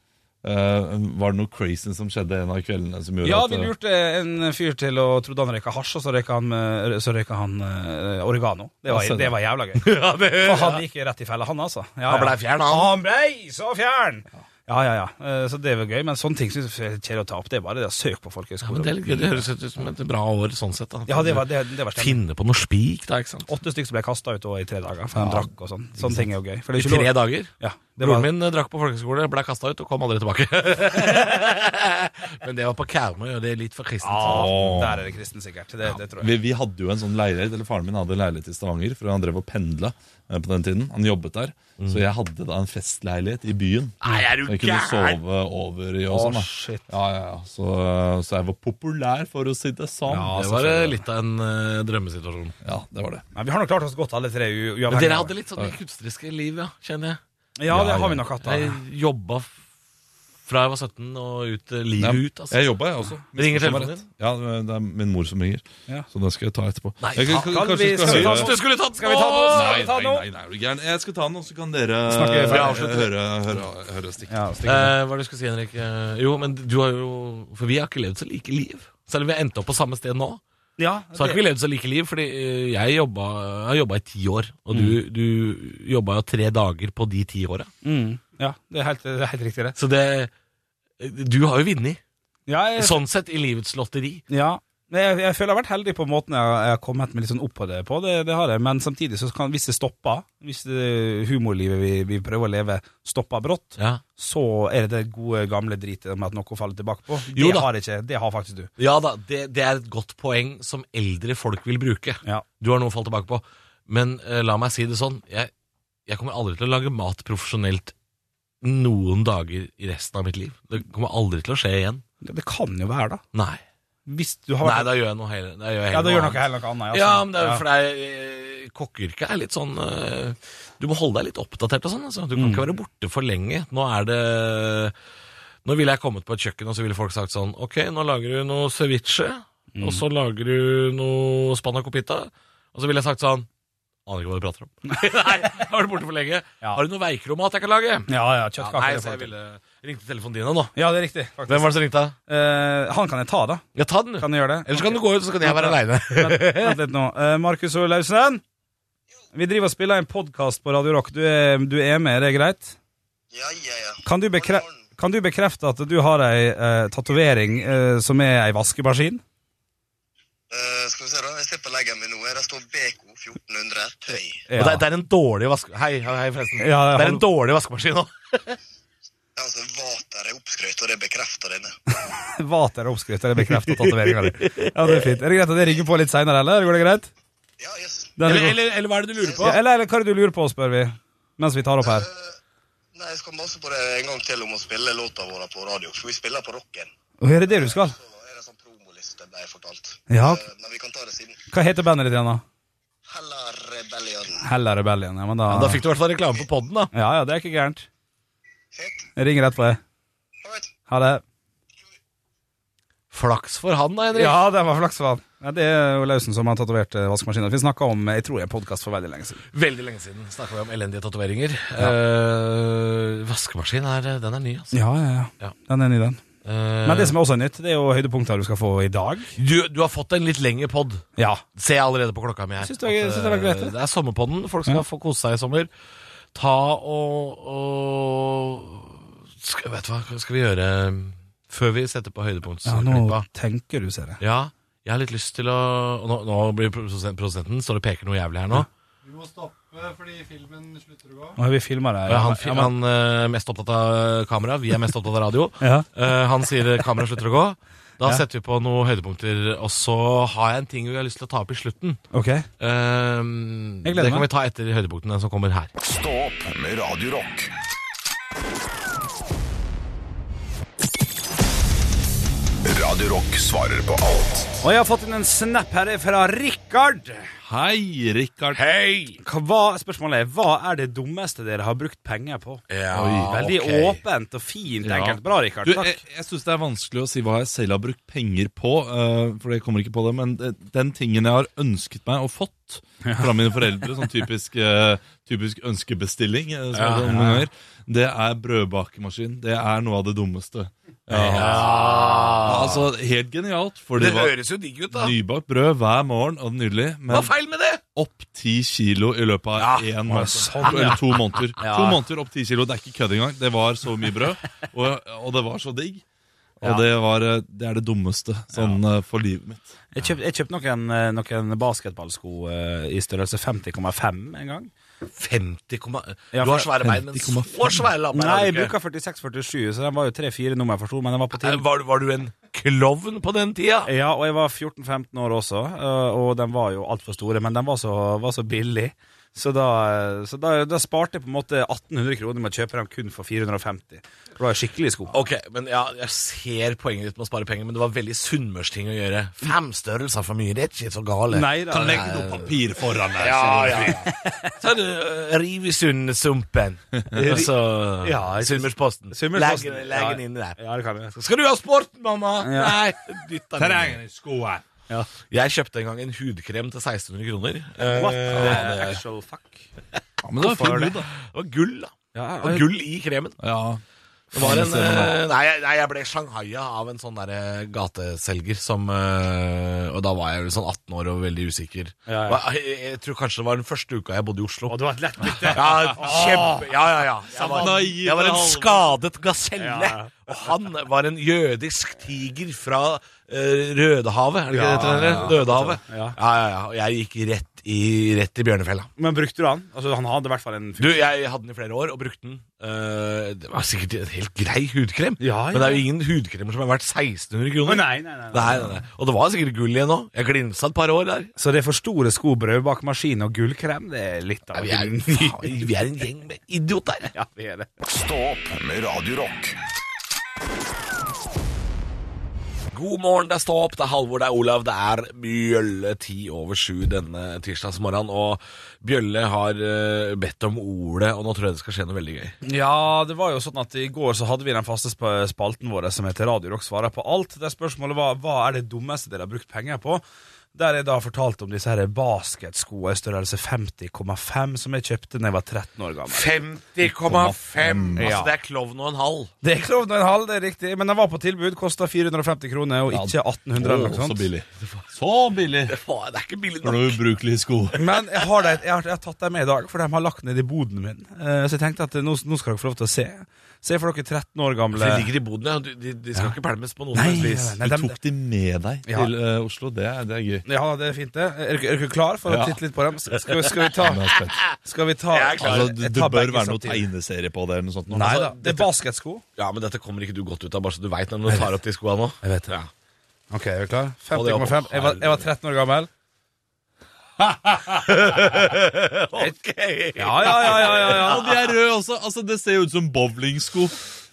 eh, var det noe crazy som skjedde en av kveldene som gjorde Ja, at altså. vi eh, lurte en fyr til å trodde han røyka hasj, og så røyka han, eh, så røyka han eh, oregano. Det var, Ja, sånn. det var jævla gøy. Altså, ja det For han gikk rett i fella, han altså. Ja, Han ja. blei fjern, han. Han blei så fjern! Ja, ja, ja. Eh, Så det var gøy. Men sånne ting syns jeg er kjedelig å ta opp. Det er bare det å søke på Ja, men folkehøyskole. det, er litt gøy. det høres ut som et bra år sånn sett. Da. Ja, det var, det, det var stemning. Finne på noe spik, da, ikke sant? Åtte stykker som ble kasta ut også i tre dager, for de drakk og sånn. Sånne ting er jo gøy. For I det er jo ikke tre lov- dager. Ja, det Broren var, min eh, drakk på folkehøyskole, ble kasta ut og kom aldri tilbake. men det var på Karmøy, og det er litt for kristent. Åh. der er det kristen, sikkert. Det, det tror jeg. vi, vi hadde jo en sånn leilighet, eller faren min hadde en leilighet i Stavanger, for han drev og pendla eh, på den tiden. Han jobbet der. Mm. Så jeg hadde da en festleilighet i byen. Ah. Nei, er du Så jeg kunne gæren? sove over i og Å, sånn. da. shit. Ja, ja, ja. Så, så jeg var populær, for å si det sånn. Ja, det var eh, litt av en eh, drømmesituasjon. Ja, det var det. Nei, vi har nok klart oss godt, alle tre. u- Men uavhengig dere av- hadde litt sånn det kunstneriske liv, ja, kjenner jeg. Ja, det Ja, har ja. vi nok hatt. da. Jeg jobba f- fra jeg var 17 og ut eh, livet ut, altså. Jeg jobba, jeg også. Ringer Som var telefonen rett. Ja, det er min mor som ringer. Ja. Så den skal jeg ta etterpå. Nei, jeg, faen, kan- kan kanskje vi- skal skal vi høre- ta Du skulle tatt Skal vi ta den Åh! også? Nei, Ta nei, den nå? nei, nei, er du gæren? Jeg skal ta den, og så kan dere Snakke ferdig. eh, høre, høre, høre stikk. Ja, stikk. Eh, hva er det du skulle si, Henrik? Eh, Jo, men du har jo For vi har ikke levd så like liv. Selv om vi har endt opp på samme sted nå, ja, så har ikke vi levd så like liv. Fordi eh, jeg jobba, jeg har jobba i ti år, og du, du jobba jo tre dager på de ti åra. Mm, ja, det er helt, det er helt riktig, det. Så det Du har jo vunnet, Ja, jeg, sånn sett, i livets lotteri. ja. Men jeg, jeg føler jeg har vært heldig på måten jeg, jeg har kommet meg litt sånn opp på det på. Det, det har jeg. Men samtidig, så kan, hvis det stopper, hvis det humorlivet vi, vi prøver å leve, stopper brått, Ja, så er det det gode, gamle dritet med at noe faller tilbake på. Jo det da. har jeg ikke. Det har faktisk du. ja da, det, det er et godt poeng som eldre folk vil bruke. Ja. Du har noe å falle tilbake på. Men eh, la meg si det sånn, jeg, jeg kommer aldri til å lage mat profesjonelt noen dager i resten av mitt liv. Det kommer aldri til å skje igjen. Det, det kan jo være, da. Nei, Hvis du har Nei vært da gjør jeg noe heller. Da gjør jeg Ja, heller da gjør noe noe annet. heller noe annet. Ja, sånn. men det er jo for det er, eh, kokkeyrket er litt sånn eh, Du må holde deg litt oppdatert og sånn. Altså. Du kan ikke være borte for lenge. Nå er det Nå ville jeg kommet på et kjøkken, og så ville folk sagt sånn Ok, nå lager du noe ceviche, og så lager du noe spanakopita. Og så ville jeg sagt sånn Aner ikke hva du prater om. Nei, har du borte for lenge? Ja. Har du noe veikromat jeg kan lage? ja, ja, Ja, kjøttkaker. nei, det så jeg får jeg til. ville ringte telefonen din nå. ja, det er riktig. faktisk. Hvem var det som ringte? Eh, han kan jeg ta, da. Ja, ta den, du. Kan jeg gjøre det? Eller så kan du gå ut, så kan jeg være aleine. Vent vent litt nå. Eh, Markus Olaussen? Vi driver og spiller en podkast på Radio Rock. Du er, du er med, er det greit? Ja, ja, ja. Kan du, bekre kan du bekrefte at du har ei uh, tatovering eh, som er ei vaskemaskin? Eh, skal vi se, da. Jeg ser på leggen min nå. Der står BK 1400 Tøy. Ja. Og det, er- det er en dårlig vaske... Hei, hei, hei forresten. Ja, det er hold- en dårlig vaskemaskin nå. Altså, Vater er oppskrøyt, og det bekrefter denne. Vater og oppskrift, er det bekrefta tatoveringa di? Ja, det er fint. Er det greit at jeg ringer på litt seinere, eller? Går det greit? Ja, yes. Den er Eller, god. eller, eller hva er det du lurer på? ja, eller, eller hva er det du lurer på, spør vi, mens vi tar opp her. Eh, nei, jeg skal mase på det en gang til om å spille låta våre på radio, for vi spiller på rocken. Å, er det det du skal? Så er det sånn promoliste, ble jeg fortalt. Ja. Eh, men vi kan ta det siden. Hva heter bandet ditt igjen, da? Hella Rebellion. Hella Rebellion. Ja, men da Da fikk du i hvert fall reklame på podden da. Ja ja, det er ikke gærent. Fett. Jeg ringer rett på deg. Alright. Ha det. Flaks for han, da, Henrik. Ja, det var flaks for han. Ja, det er jo Lausen som har tatovert eh, vaskemaskinen. Vi snakka om eh, jeg tror jeg podkast for veldig lenge siden. Veldig lenge siden snakka vi om elendige tatoveringer. Eh, vaskemaskin er, den er ny, altså. Ja, ja, ja. Ja. Den er ny, den. Eh, Men det som er også er nytt, det er jo høydepunkter du skal få i dag. du, du har fått en litt lengre pod. Ja. Ser jeg allerede på klokka mi her. Syns du det- At, syns det var greit, eh, eller? det er sommerpodden. Folk skal få kose seg i sommer. Ta og, og skal, Vet du hva, hva skal vi gjøre eh, før vi setter på ja nå høydepunktsklippa? tenker du, ser jeg. Ja, jeg har litt lyst til å og Nå, nå blir produsenten, produsenten står og peker noe jævlig her nå. Vi må stoppe fordi filmen slutter å gå. Nå har vi filma det. Og Han, fyr- han eh, er mest opptatt av kamera, vi er mest opptatt av radio. Ja. Eh, han sier kameraet slutter å gå. Da setter vi på noen høydepunkter. Og så har jeg en ting vi har lyst til å ta opp i slutten. Ok. Ehm, Jeg gleder det kan meg. vi ta etter høydepunkten, den som kommer her. Stå opp med Radio Rock. Radio Rock svarer på alt. Og jeg har fått inn en snap her fra Rikard. Hei, Rikard. Hei! Hva, spørsmålet er hva er det dummeste dere har brukt penger på? Ja, Veldig ok. eh, åpent og fint. Ja. Enkelt. Bra, Rikard. Du, jeg Takk. jeg syns det er vanskelig å si hva jeg selv har brukt penger på, eh, for jeg kommer ikke på det, men det- den tingen jeg har ønsket meg og fått fra mine foreldre, sånn typisk, eh, typisk ønskebestilling, eh, som Ja, jeg noen ganger, det er brødbakemaskin. Det er noe av det dummeste. jeg har Ja. hatt. Altså, helt genialt, for det, Det var høres jo digg ut, da. nybakt brød hver morgen, og nydelig, Hva men er feil med det? opp ti kilo i løpet av én måned. sånn, Eller to måneder. To måneder opp ti kilo, det er ikke kødd engang. Det var så mye brød, og, og det var så digg. Og det, var, eh, det er det dummeste sånn eh, for livet mitt. Jeg kjøpte jeg kjøpt noen, eh, noen basketballsko eh, i størrelse 50,5 en gang. 50, komma- Ja, du har for- svære bein, men så svære labber Nei, har jeg du ikke. bruker 46-47, så den var jo 3-4 nummer for stor, men den var på Eh, til. Var, var du en klovn på den tida? Ja, og jeg var 14-15 år også, eh, og den var jo altfor store, men den var så, var så billig. Så, da, eh, så da, da sparte jeg på en måte 1800 kroner med å kjøpe dem kun for 450. For det var skikkelig sko. Ok, men ja, Jeg ser poenget ditt med å spare penger, men det var veldig sunnmørsting å gjøre. Fem størrelser for mye, det er ikke så gale. Nei da. Legg noe papir foran deg. Ja, ja, ja. Så er det øh, riv i sundsumpen. Og så Ja, jeg synes- Sunnmørsposten. Sunnmørsposten, Legg- legg den ja. inn der. Ja, det kan jeg. Skal du ha sporten, mamma? Ja. Nei, dytt den inn. i skoen. Jeg kjøpte en gang en hudkrem til 1600 kroner. Eh, What the actual fuck? Ja, men det var fin hud, da. Det var gull, da. Ja, Det var gull i kremen. Ja. Det var en, Ser man da. eh, nei, jeg- nei, jeg ble shanghaia av en sånn derre gateselger som eh, Og da var jeg vel sånn 18 år og veldig usikker. Ja, ja. Hva- Jeg, jeg tror kanskje det var den første uka jeg bodde i Oslo. Og det var et lett bytte. Ja, kjempe, ja, ja, ja. Jeg var, Naiv jeg var en alder. skadet gaselle. Ja. Og han var en jødisk tiger fra eh, Rødehavet. Er det ikke det det heter? Dødehavet. Ja, Ja. ja, ja. Og jeg gikk rett i, rett i bjørnefella. Men brukte du han? Altså, han hadde i hvert fall en Du, jeg hadde den i flere år og brukte den. Eh, det var sikkert en helt grei hudkrem, Ja, ja. men det er jo ingen hudkremer som er verdt 1600 Å, kroner. nei, nei, nei, nei. Nei, nei, nei. Og det var sikkert gull igjen òg. Jeg glinsa et par år der. Så det er for store sko, brødbakemaskin og gullkrem? Det er litt av Vi er, en faen, vi er en gjeng med idioter. Ja, det er det. Stå opp med Radio Rock. God morgen, det er Stå opp, det er Halvor, det er Olav, det er Bjølle ti over sju denne tirsdagsmorgenen. Og Bjølle har eh, bedt om ordet, og nå tror jeg det skal skje noe veldig gøy. Ja, det var jo sånn at i går så hadde vi den faste sp- spalten vår som heter Radio Rock svarer på alt. Der spørsmålet var hva er det dummeste dere har brukt penger på? Der jeg da fortalte om disse her basketskoene i størrelse 50,5 som jeg kjøpte da jeg var 13 år gammel. 50,5! Ja. Altså, det er klovn og en halv. Det er klovn og en halv, det er riktig, men den var på tilbud. Kosta 450 kroner og ikke 1800 eller noe Å, så sånt. billig. Så billig Det, var, det er ikke billig for nok. noe ubrukelig sko. Men jeg har, det, jeg, har, jeg har tatt dem med i dag, for de har lagt ned i boden min. Eh, så jeg tenkte at eh, nå, nå skal dere få lov til å se. Se for dere 13 år For gamle De ligger i boden, ja. De, de, de skal ikke pælmes på noen Nei, som helst vis. nei, Du dem- tok de med deg Ja. til eh, Oslo. Det er, det er gøy. Ja, det er fint, det. Er dere, er dere klare for Ja. å titte litt på dem? Skal, skal, vi- skal vi ta Men jeg er spent. Skal vi ta Jeg er klar. Altså, Jeg det, tar det bør begge være noe samtidig. tegneserie på det eller noe sånt. nå. Nei Altså, da. Det er basketsko. Ja, men dette kommer ikke du godt ut av, bare så du veit når du tar opp de skoa nå. Jeg vet det. Ok, er vi klar? Få det opp. 50,5. Jeg, var- jeg var 13 år gammel. Ok. Ja, ja, ja, ja, ja, ja. Og de er røde også. Altså, det ser jo ut som bowlingsko.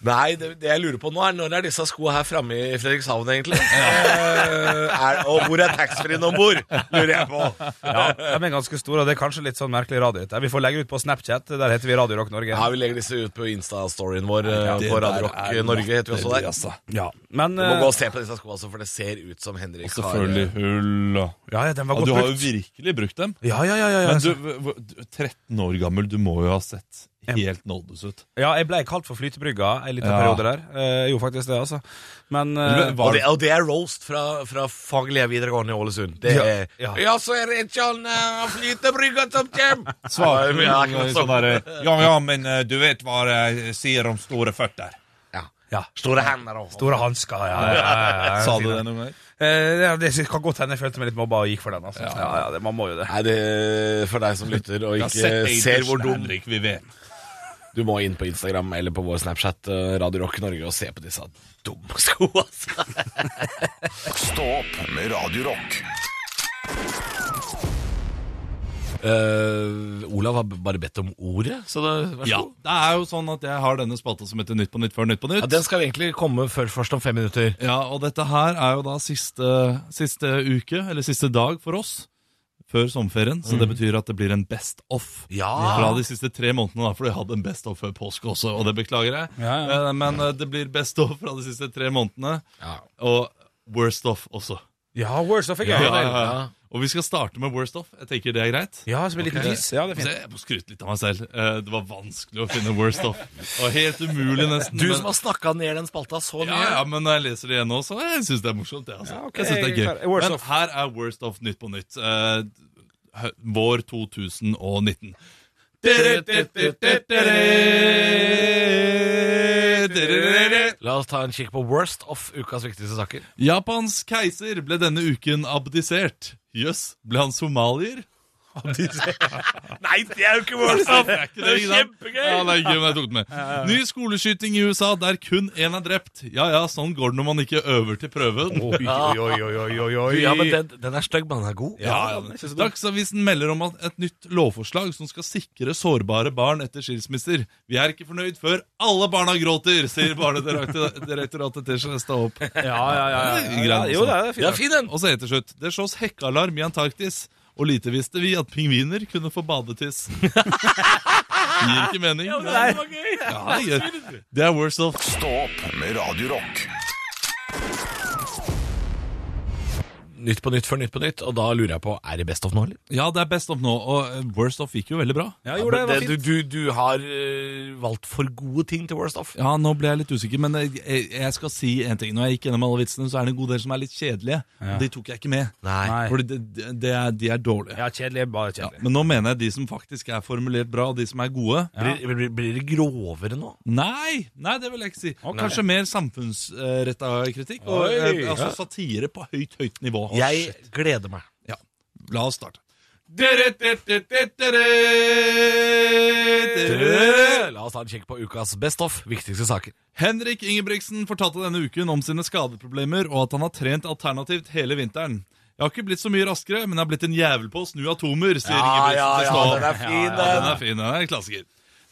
Nei, det, det jeg lurer på nå er når er disse skoene her framme i Fredrikshavn, egentlig? Eh, er, og hvor er taxfree-en om bord? Lurer jeg på. ja. De er ganske store, og det er kanskje litt sånn merkelig radio. ut. Vi får legge ut på Snapchat. Der heter vi Radio Rock Norge. Ja, Vi legger disse ut på Insta-storyen vår. eh, Det på der Radio Rock er Norge heter vi også der. latterlig, altså. Ja, men Du må gå eh, og se på disse skoene, også, for det ser ut som Henrik har eh, Selvfølgelig hull og Ja, ja, den var ja, godt Du har jo brukt. virkelig brukt dem. Ja, ja, ja, ja, ja. Men du, v- v- du, 13 år gammel, du må jo ha sett helt nådeløs ut. Ja, jeg ble kalt for flytebrygga en liten Ja. periode der. Eh, jo, faktisk det, altså. Men eh, Men Og var- det, og det er roast fra, fra faglige videregående i Ålesund. Det er, Ja. så er det ikke han eh, flytebrygga som kommer! Svarte Ja, men jeg er ikke noe sånn sånn. der, Ja, ja, men eh, du vet hva jeg sier om store føtter. ja. Store hender og Store altså. hansker, ja. ja, ja, ja. Sa du det noen ganger? Eh, ja, det kan godt hende jeg følte meg litt mobba og gikk for den. altså Ja, ja, det, Man må jo det. Nei, det er for deg som lytter og Jeg har ikke sett ser Aiders, hvor dum Henrik, vi vet. Du må inn på Instagram eller på vår Snapchat eh, Radio Rock Norge og se på disse dumme skoene. altså. Stå opp med Radio Rock. Eh, Olav har bare bedt om ordet, så da, vær så Ja, god. det er jo sånn at jeg har denne spalta som heter Nytt på nytt før Nytt på nytt. Ja, den skal egentlig komme før, først om fem minutter. Ja, og dette her er jo da siste, siste uke, eller siste dag for oss, før sommerferien. Så Mm. det betyr at det blir en best off Ja. fra de siste tre månedene, da, for vi hadde en best off før påske også, og det beklager jeg. Ja, ja. Eh, Men eh, det blir best off fra de siste tre månedene, Ja. og worst off også. Ja, Words of a Ja, Game. ja, ja. Og vi skal starte med worst off. Jeg tenker det er greit. Ja, som en liten Ok. quiz. Ja, det er Så fint. jeg må skryte litt av meg selv. Eh, Det var vanskelig å finne worst off. Det var helt umulig, nesten. Du men- som har snakka ned den spalta så mye. ja, ja, men når jeg leser det igjen nå, så jeg synes det er morsomt. Det, altså. Ja, ok, jeg synes det jeg er klarer- gøy. Worst Men of. her er Worst of Nytt på nytt. eh, hø- vår 2019. La oss ta en kikk på Worst of ukas viktigste saker. Japans keiser ble denne uken abdisert. Jøss, ble han somalier? Nei, det er jo ikke worst of! Er ikke det, ikke sant? Ja, det er gøy, men jeg tok den med. Ny skoleskyting i USA der kun én er drept. Ja ja, sånn går det når man ikke øver til prøven. Oi, oi, oi, oi, oi, oi. Ja, men den, den er stygg, men den er god. Ja, Dagsavisen melder om at et nytt lovforslag som skal sikre sårbare barn etter skilsmisser. Vi er ikke fornøyd før alle barna gråter, sier Barnedirektoratet til Skjesta opp. Ja, ja, ja, ja, ja, ja. Greit, Jo, altså. det er fint. Ja, fin den! Og så helt til slutt. Det slås hekkealarm i Antarktis, og lite visste vi at pingviner kunne få badetiss. Gir ikke mening. Ja, det er gøy. Det er worst of. Stå opp med Radio Rock. Nytt på nytt før Nytt på nytt, og da lurer jeg på, er det best of nå, eller? Ja, det er best of nå, og eh, worst of gikk jo veldig bra. Ja, jo, det var du, fint. du, du har eh, valgt for gode ting til worst of. Ja, nå ble jeg litt usikker, men jeg, jeg- jeg skal si en ting. Når jeg gikk gjennom alle vitsene, så er det en god del som er litt kjedelige. og De tok jeg ikke med. Nei. Nei. Fordi det, det, det er, de er dårlige. Ja, kjedelig er bare Ja, kjedelig. men nå mener jeg de som faktisk er formulert bra, og de som er gode. Blir, blir, blir det grovere nå? Nei, nei, det vil jeg ikke si. Kanskje mer samfunnsretta kritikk. Og, Oi, eh, ja. altså satire på høyt, høyt nivå. Jeg gleder meg. Ja, la oss starte. Eh, La oss ta en kikk på ukas best of viktigste saker. Henrik Ingebrigtsen fortalte denne uken om sine skadeproblemer og at han har trent alternativt hele vinteren. Jeg har ikke blitt så mye raskere, men jeg har blitt en jævel på å snu atomer, sier Ingebrigtsen til Stå. Opp. fin, Ja, den er fin, den er en klassiker.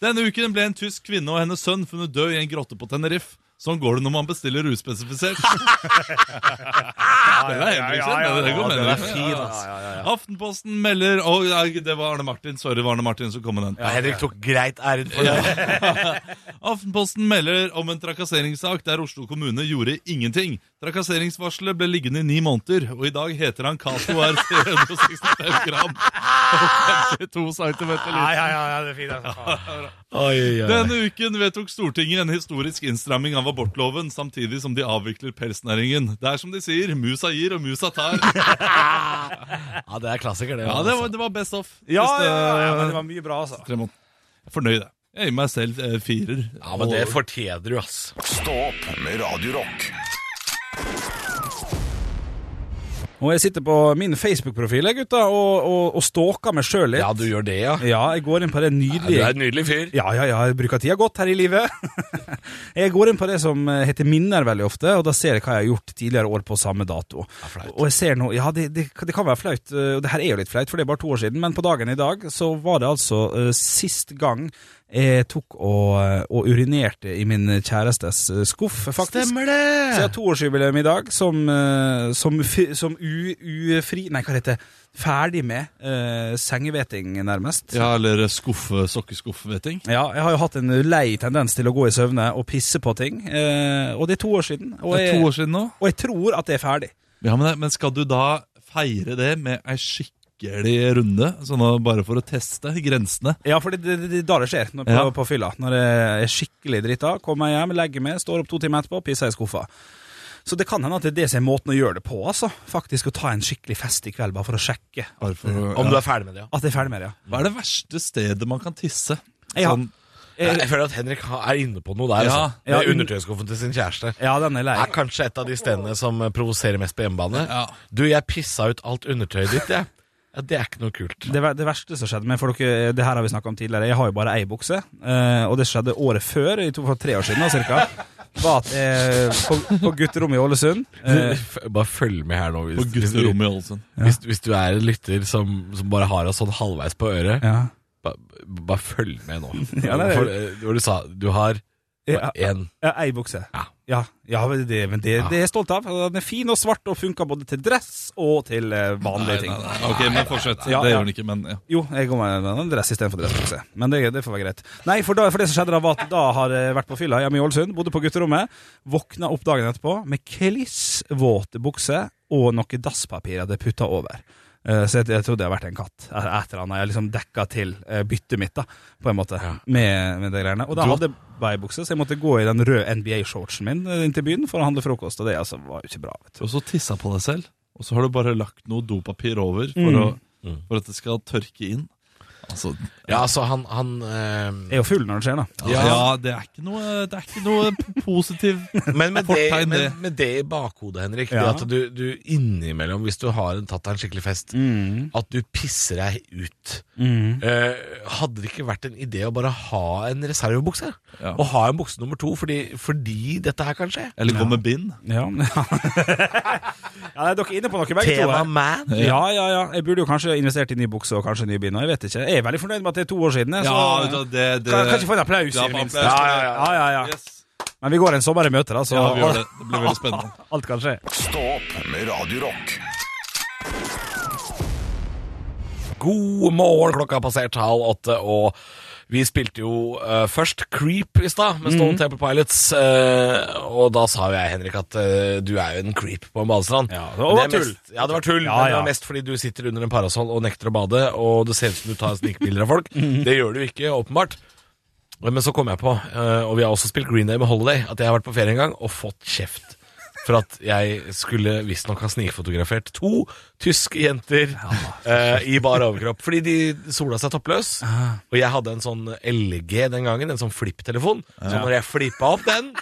Denne uken ble en tysk kvinne og hennes sønn funnet død i en grotte på Tenerife. Sånn går det når man bestiller uspesifisert. Den er helt ukjent, men det går med den er det. fin, altså. Aftenposten melder Å, nei, det var Arne Martin. Sorry, det var Arne Martin som kom med den. Ja, Henrik tok greit æren for det. Aftenposten melder om en trakasseringssak der Oslo kommune gjorde ingenting. Trakasseringsvarselet ble liggende i ni måneder, og i dag heter han Cato R. 365 gram og kanskje to centimeter liten. ja, ja, ja, det er fint. Altså. Denne uken vedtok Stortinget en historisk innstramming av abortloven, samtidig som de avvikler pelsnæringen. Det er som de sier, musa gir og musa tar. Ja, det er klassiker, det. Ja, det altså. var, det var best off. Ja, Siste ja, ja, ja, men det var mye bra, altså. tre måneder. Jeg er fornøyd, jeg. Jeg gir meg selv eh, firer. Ja, men det fortjener du, ass. Stå opp med Radio Rock. Og jeg sitter på min Facebook-profil, jeg, gutta, og, og, og stalker meg sjøl litt. Ja, du gjør det, ja. Ja, jeg går inn på det Du nydelige er en nydelig fyr. Ja, ja, ja, jeg bruker tida godt her i livet. jeg går inn på det som eh, heter minner veldig ofte, og da ser jeg hva jeg har gjort tidligere år på samme dato. og jeg ser nå, ja, det, det, det kan være flaut, eh, og det her er jo litt flaut, for det er bare to år siden, men på dagen i dag så var det altså eh, sist gang jeg tok og, eh, og urinerte i min kjærestes eh, skuff, faktisk. Stemmer det! Så jeg har toårsjubileum i dag som, eh, som, fi- som u, ufri, nei, hva heter det, ferdig med eh, sengeveting nærmest. Ja, eller skuffe, sokkeskuffevetting. Ja, jeg har jo hatt en lei tendens til å gå i søvne og pisse på ting. Eh, og det er to år siden. Og Det er to jeg, år siden nå. og jeg tror at det er ferdig. Ja, men, men skal du da feire det med ei skikkelig rikelig runde, sånn at- bare for å teste grensene. Ja, for det, det, det, det er da det skjer, når, på, Ja. på fylla. Når jeg er skikkelig drita, kommer jeg hjem, legger meg, står opp to timer etterpå, pisser i skuffa. Så det kan hende at det er det som er måten å gjøre det på, altså. Faktisk å ta en skikkelig fest i kveld, bare for å sjekke at Bare for, å- Om ja. du er ferdig med det, ja. jeg er ferdig med det, ja. Hva Eh, er det verste stedet man kan tisse? Ja. Sånn, Jeg, jeg føler at Henrik ha- er inne på noe der. Ja. altså. Det er Ja, un- undertøyskuffen til sin kjæreste. Ja, den er lei. er kanskje et av de stedene som provoserer mest på hjemmebane. Ja. Du, jeg pissa ut alt undertøyet ditt, jeg. Ja, det er ikke noe kult. Det, ver- det verste som skjedde med for dere, Det her har vi snakka om tidligere. Jeg har jo bare ei bukse. eh, og det skjedde året før, i to, for tre år siden da, cirka. Var at jeg, på, på gutterommet i Ålesund eh, F- Bare følg med her nå. Hvis, på hvis, du- gutterommet i Ålesund. hvis, hvis du er en lytter som, som bare har oss sånn halvveis på øret, ja, ba- bare følg med nå. Ja, det er- For, eh, Hvor du sa du har Ja. én ja, Ei bukse. Ja. Ja, ja, men det, men det, det er jeg stolt av. Den er fin og svart og funker både til dress og til eh, vanlige ting. Ok, men fortsett. Ja, det ja. gjør den ikke, men ja. Jo, jeg går med en annen dress istedenfor dressbukse. Men det, det får være greit. Nei, for, da, for det som skjedde da, var at da har jeg vært på fylla hjemme i Ålesund, bodde på gutterommet, våkna opp dagen etterpå med klissvåte bukser og noe dasspapir jeg hadde putta over. Eh, Så jeg, jeg trodde jeg hadde vært en katt. Et eller annet. Jeg liksom dekka til eh, byttet mitt, da, på en måte, med, med de greiene. Og da hadde jeg beibukse, så jeg måtte gå i den røde NBA-shortsen min eh, inn til byen for å handle frokost, og det altså, var jo ikke bra. vet du. Og så tissa på deg selv, og så har du bare lagt noe dopapir over for, Mm. å, for at det skal tørke inn. Altså, Ja, altså, han, han eh, Jeg er jo full når det skjer, da. ja, det, er ikke noe, det er ikke noe p- positiv Men med det, fortegn, med, det. med det i bakhodet, Henrik, Ja. det at du, du innimellom, hvis du har en, tatt deg en skikkelig fest, at du pisser deg ut. Eh, hadde det ikke vært en idé å bare ha en reservebukse? Ja. Og ha en bukse nummer to, fordi, fordi dette her kan skje? Eller gå med bind. Ja, ja dere er inne på noe, begge to. Tema her. man. Ja, ja, ja. Jeg burde jo kanskje investert i ny bukse og kanskje nye bind. Jeg vet ikke. Jeg er veldig fornøyd med at det er to år siden. Jeg, så Altså, det, kan, kan ikke få en applaus, Ja, i det minste. applaus. Ja, ja, ja. ja, ja. Men vi går en sommer i møte, da, så vi gjør det. Det blir veldig spennende. alt kan skje. Stå opp med Radio Rock. God morgen, klokka har passert halv åtte, og vi spilte jo eh, først Creep i stad med Mhm. Stone Temple Pilots, eh, og da sa jo jeg, Henrik, at eh, du er jo en creep på en badestrand. Ja, det var Men er tull. Mest, ja, det var tull, Ja, men det ja. var mest fordi du sitter under en parasoll og nekter å bade, og det ser ut som du tar snikbilder av folk. Mhm. Det gjør du ikke, åpenbart. Men så kom jeg på, eh, og vi har også spilt Green Day med Holiday, at jeg har vært på ferie en gang og fått kjeft. For at jeg skulle visstnok ha snikfotografert to tyske jenter eh, i bar overkropp. Fordi de sola seg toppløs. Og jeg hadde en sånn LG den gangen, en sånn flipptelefon. Så når jeg flippa opp den,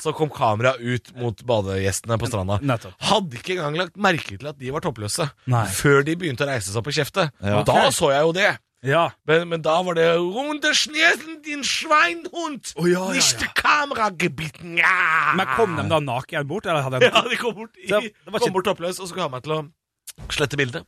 så kom kameraet ut mot badegjestene på stranda. Nettopp. Hadde ikke engang lagt merke til at de var toppløse Nei. før de begynte å reise seg på kjeftet. Ja. Og da så jeg jo det. Ja. Men, men da var det Runde snesen, din sveinhund! Oh, ja, ja, ja. kamera gebitten! Ja. Men kom de da naken bort? Eller hadde de... Ja, de kom bort, i, Så det var ikke- kom bort oppløs, og skulle ha meg til å slette bildet.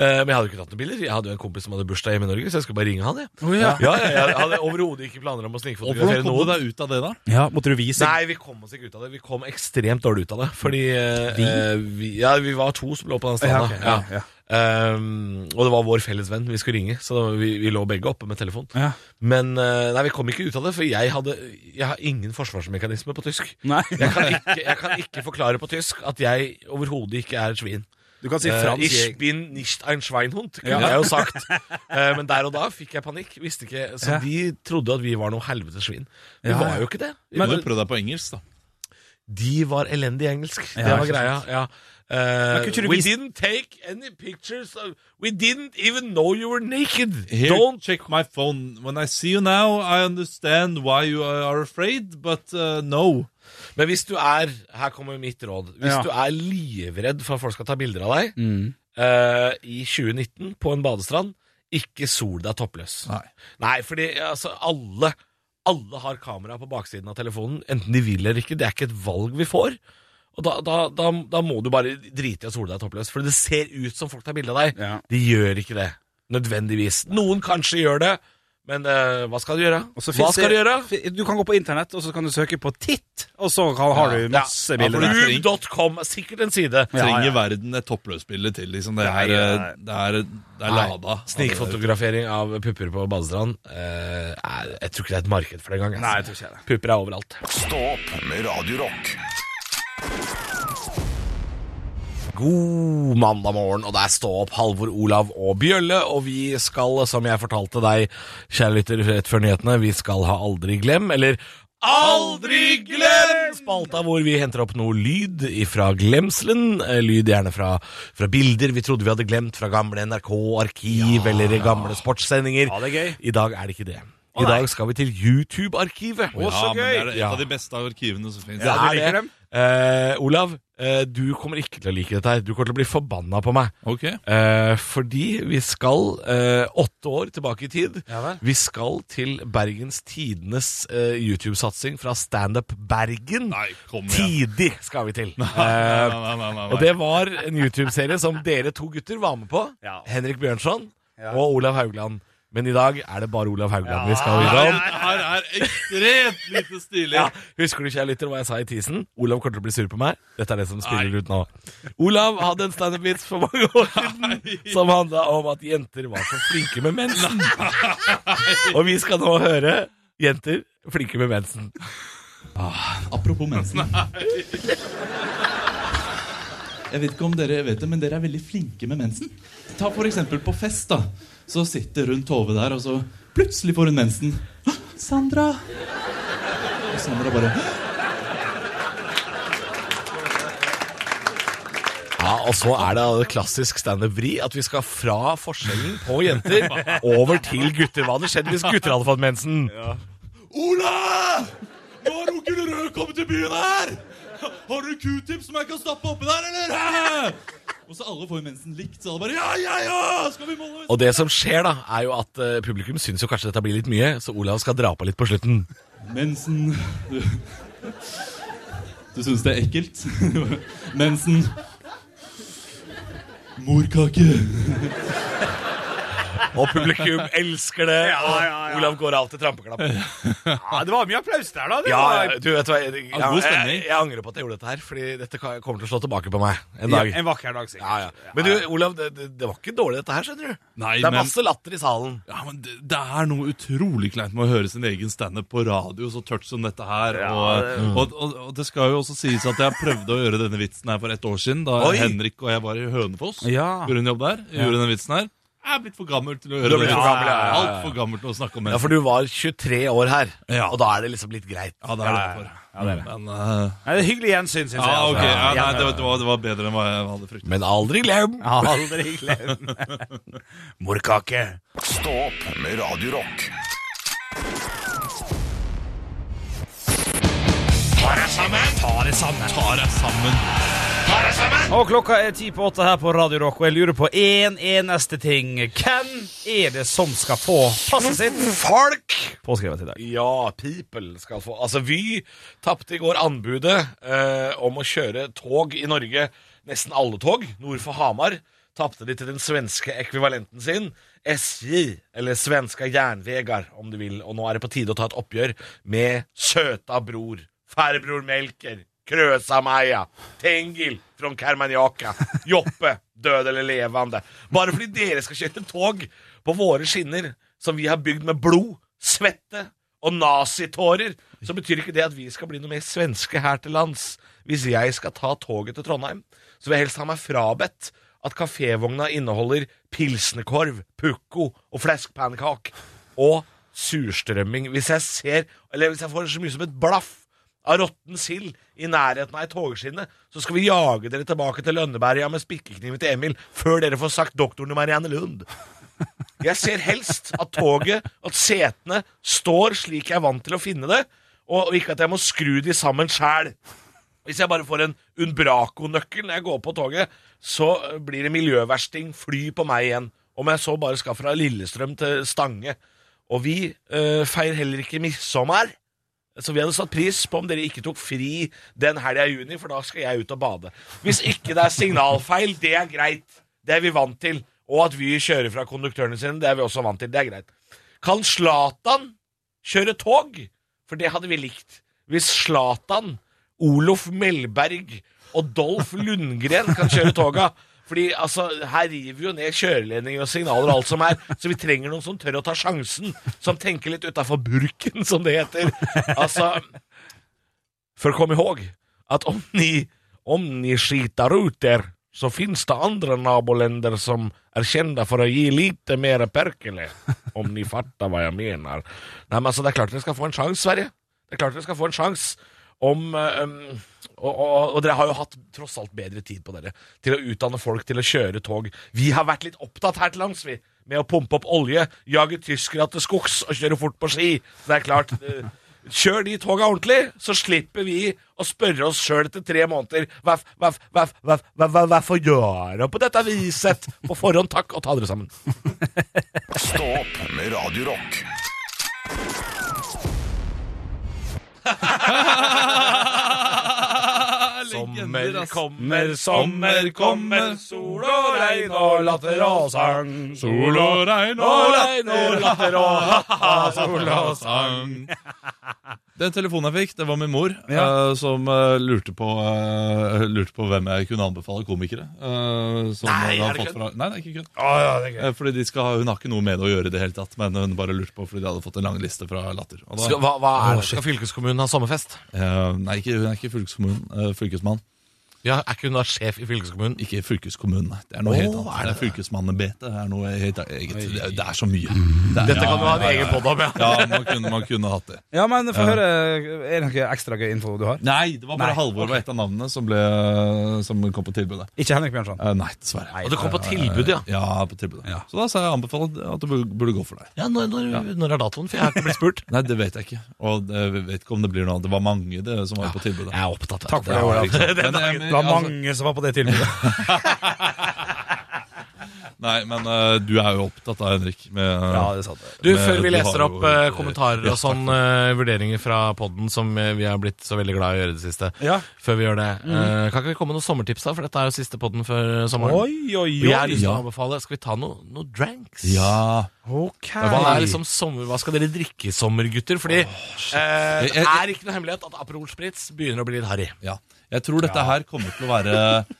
Eh, men jeg hadde jo ikke tatt noen bilder. Jeg hadde jo en kompis som hadde bursdag hjemme i Norge, så jeg skulle bare ringe han. Jeg, ja. ja, ja, jeg hadde overhodet ikke planer om å Og hvordan snikfotografere kom du noen. deg ut av det, da? Ja, måtte du vise? Nei, vi kom oss ikke ut av det. Vi kom ekstremt dårlig ut av det. Fordi eh, eh, vi, ja, vi var to som lå på den Ja, stranda. ok, ja, ja. Ehm, og det var vår felles venn vi skulle ringe, så da, vi, vi lå begge oppe med telefon. Ja. Men eh, nei, vi kom ikke ut av det, for jeg, hadde, jeg har ingen forsvarsmekanisme på tysk. Nei. Jeg kan, ikke, jeg kan ikke forklare på tysk at jeg overhodet ikke er et svin. Du kan si Eh, fransk. ich bin nicht ein Schweinhund, kunne jeg jo sagt. Eh, men der og da fikk jeg panikk. Visste ikke, så Ja. de trodde at vi var noe helvetes svin. Vi Ja, ja. var jo ikke det. Vi Men, var, du prøvde deg på engelsk, da. de var elendig i engelsk. Ja, det var ikke greia. Ja. Eh, kunne ikke du we vise- didn't take any pictures of, We didn't even know you were naked. Here, Don't check my phone. When I see you now, I understand why you are afraid, but uh, no. Men hvis du er Her kommer mitt råd. Hvis Ja. Mm. du er livredd for at folk skal ta bilder av deg eh, i 2019 på en badestrand, ikke sol deg toppløs. Nei. Nei, fordi altså, alle Alle har kamera på baksiden av telefonen, enten de vil eller ikke. Det er ikke et valg vi får. Og da, da, da, da må du bare drite i å sole deg toppløs, for det ser ut som folk tar bilde av deg. Ja. De gjør ikke det, nødvendigvis. Noen kanskje gjør det, men eh, hva skal du gjøre? Og så Hva finnes skal du det- gjøre? fi- Du kan gå på internett, og så kan du søke på titt, og så kan, har du masse bilder. der. Uv.com, sikkert en side. Trenger verden et toppløsbilde til, liksom. Det er, eh, det er, det er lada. Snikfotografering av pupper på badestrand eh, er, Jeg tror ikke det er et marked for det engang. altså. Nei, jeg tror ikke det. Pupper er overalt. Stå opp med Radio Rock. God mandag morgen, og der står opp Halvor, Olav og Bjølle. Og vi skal, som jeg fortalte deg, kjære lytter, rett før nyhetene, vi skal ha Aldri glem, eller Aldri glem! Spalta hvor vi henter opp noe lyd fra glemselen. eh, Lyd gjerne fra, fra bilder vi trodde vi hadde glemt fra gamle NRK-arkiv eller gamle sportssendinger. Ja, det er gøy. I dag er det ikke det. I dag skal vi til YouTube-arkivet. Ja, så men det gøy! er et Ja. av de beste arkivene som finnes. Det Ja, du er det. liker dem? Eh, Olav, eh, du kommer ikke til å like dette her. Du kommer til å bli forbanna på meg. Ok. Eh, fordi vi skal eh, åtte år tilbake i tid. Ja vel. vi skal til Bergens Tidenes eh, YouTube-satsing fra Standup Bergen. Nei, kom igjen. Tidig skal vi til. Nei, Eh, nei, nei, nei, og nei. det var en YouTube-serie som dere to gutter var med på. Ja. Henrik Bjørnson og Olav Haugland. Men i dag er det bare Olav Haugland vi skal Her, videre om. er- her er ekstremt lite stilig. Ja, husker du ikke jeg lytter hva jeg sa i tisen? Olav kommer til å bli sur på meg. Dette er det som spiller ut nå. Olav hadde en standup-vits for mange år siden som handla om at jenter var så flinke med mensen. Og vi skal nå høre jenter flinke med mensen. Apropos mensen. Jeg vet ikke om dere vet det, men dere er veldig flinke med mensen. Ta for eksempel på fest, da. Så sitter hun Tove der, og så plutselig får hun mensen. «Hå, Sandra! Og Sandra bare Ja, Og så er det altså klassisk standup-vri at vi skal fra forskjellen på jenter over til gutter. Hva hadde skjedd hvis gutter hadde fått mensen? Ola! Nå har onkel Rød kommet til byen her! Har du q-tips som jeg kan stappe oppi der, eller? Og så alle får jo mensen likt, så alle bare Ja, ja, ja! Skal vi måle Og det som skjer, da, er jo at eh, publikum syns jo kanskje dette blir litt mye, så Olav skal dra på litt på slutten. Mensen Du, du syns det er ekkelt? Mensen Morkake. Og publikum elsker det. og Olav går av til trampeklapp. Ja, det var mye applaus der, da. Det Ja, var- ja, du vet hva, jeg, Ja, god jeg, jeg, stemning. angrer på at jeg gjorde dette her, Fordi dette kan- kommer til å slå tilbake på meg en dag. En vakker dag, sikkert. Ja, ja. Men du, Olav, det, det det var ikke dårlig dette her, skjønner du. Nei, det er men- masse latter i salen. Ja, men det, det er noe utrolig kleint med å høre sin egen standup på radio så tørt som dette her. og, og, og, og det skal jo også sies at jeg prøvde å gjøre denne vitsen her for ett år siden, da Oi! Henrik og jeg var i Hønefoss. Ja. Gjorde en jobb der. Gjorde denne vitsen her. Jeg er blitt for gammel til å gjøre Du er det. blitt for gammel, ja, ja, ja, ja. Altfor gammel til å snakke om Ja, For du var 23 år her, Ja. og da er det liksom litt greit. Ja, det er det jeg får. Men eh, Nei, det er hyggelig gjensyn, syns jeg. Ja, altså. Ah, ok. Ja, nei, det, var- det, var, det var bedre enn hva jeg hadde fryktet. Men aldri glem! Ja, Aldri glem. Morkake. Stå opp med Radio Rock. Og klokka er ti på åtte her på Radio Rock, og jeg lurer på én en eneste ting. Hvem er det som skal få passet sitt Folk! påskrevet i dag? Ja, People skal få Altså, Vy tapte i går anbudet eh, om å kjøre tog i Norge. Nesten alle tog nord for Hamar tapte de til den svenske ekvivalenten sin, SJ, eller Svenska Järnvägar, om du vil. Og nå er det på tide å ta et oppgjør med søta bror, farbror Melker, Krösa-Maja, Tengil fra Karmanjaka, Joppe, død eller levende. Bare fordi dere skal kjøre tog på våre skinner, som vi har bygd med blod, svette og nazitårer, så betyr ikke det at vi skal bli noe mer svenske her til lands. Hvis jeg skal ta toget til Trondheim, så vil jeg helst ha meg frabedt at kafévogna inneholder pilsnekorv, pukko og fleskpannekak og surstrømming. Hvis jeg ser, eller hvis jeg får så mye som et blaff av råtten sild i nærheten av ei togskinne, så skal vi jage dere tilbake til Lønneberga med spikkekniven til Emil før dere får sagt doktoren i Marianne Lund. Jeg ser helst at toget, at setene, står slik jeg er vant til å finne det, og og ikke at jeg må skru de sammen sjæl. Hvis jeg bare får en Umbraco-nøkkel når jeg går på toget, så eh, blir det miljøversting fly på meg igjen. Om jeg så bare skal fra Lillestrøm til Stange. Og vi eh, feirer heller ikke midtsommer. Så vi hadde satt pris på om dere ikke tok fri den helga i juni, for da skal jeg ut og bade. Hvis ikke det er signalfeil, det er greit. Det er vi vant til. Og at Vy kjører fra konduktørene sine, det er vi også vant til. Det er greit. Kan Zlatan kjøre tog? For det hadde vi likt. Hvis Zlatan, Olof Melberg og Dolf Lundgren kan kjøre toga. Fordi altså, Her river vi jo ned kjøreledninger og signaler og alt som er, så vi trenger noen som tør å ta sjansen. Som tenker litt utafor burken, som det heter. Altså For kom ihåg at om ni, om ni skiter ut der, så finns det andra naboländer som är kända för att ge lite mer perkele. Om ni fattar vad jag menar. Nej, men alltså, det är klart att ni ska få en chans, Sverige. Det är klart att ni ska få en chans. Om, eh, um, og, og, og dere har jo hatt tross alt bedre tid på dere til å utdanne folk til å kjøre tog. Vi har vært litt opptatt her til lands, vi. Med å pumpe opp olje, jage tyskere til skogs og kjøre fort på ski. Så det er klart. eh, Kjør de toga ordentlig, så slipper vi å spørre oss sjøl etter tre måneder hva- hva- hva- hva- hva- hva- Hvorfor gjør dere på dette viset? På forhånd, takk, og ta dere sammen. Stå opp med Radio Rock. Sommer kommer, sommer kommer, sol og regn og latter og sang. Sol og regn Og regn og latter og ha-ha, sol og sang. Den telefonen jeg fikk, det var min mor, Ja. eh, som eh, lurte, på, eh, lurte på hvem jeg kunne anbefale komikere. eh, som Nei, hun er har det fått fra, nei, det er ikke kødd. Å, ja, det er gøy. Eh, Fordi de skal, ha- Hun har ikke noe med det å gjøre i det hele tatt, men hun bare lurte på fordi de hadde fått en lang liste fra Latter. Og da- Skal, hva, hva er det? Skal fylkeskommunen ha sommerfest? Eh, nei, ikke, hun er ikke fylkeskommun, eh, fylkesmann. Ja, Er ikke hun da sjef i fylkeskommunen? Ikke fylkeskommunen, nei. Det er noe Åh, helt annet. er Det det er Fylkesmannembetet er noe helt eget. Det er, det er så mye. Det er, Dette kan du ha en egen podd om, ja. Ja, man kunne, man kunne hatt det. Ja, men få høre, er det noe ekstra gøy info du har? Nei, det var bare Nei, Halvor var et av navnene som, ble, som kom på tilbudet. Ikke Henrik Bjørnson? Eh, nei, dessverre. Og det kom på tilbud, ja. Ja, på tilbudet. Så da sa jeg anbefalt at det burde, burde gå for deg. ja når, når, når er datoen? For jeg har ikke blitt spurt. Nei, det vet jeg ikke. Og det- jeg vet ikke om det blir noe annet. Det var mange det, som var på tilbudet. Jeg er opptatt. vet Takk du. for det, Olav. Men, eh, men, Det var altså, mange som var på det tilbudet. nei, men eh, du er jo opptatt av Henrik. Med, det satt det. Du, Men før vi du leser har opp jo- eh, kommentarer Ja, og sånn eh, vurderinger fra podden som eh, vi har blitt så veldig glad i å gjøre i det siste, Ja. før vi gjør det, eh, kan ikke vi komme med noen sommertips da? For dette er jo siste podden før eh, sommeren. Oi, oi, Og jeg har oi. lyst til å anbefale, skal vi ta noe- noen dranks? ja. Ok. Hva, er liksom sommer, hva skal dere drikke i sommer, gutter? Fordi eh, Jeg- det er ikke noe hemmelighet at Aperol Spritz begynner å bli litt harry. Ja. Jeg tror dette her kommer til å være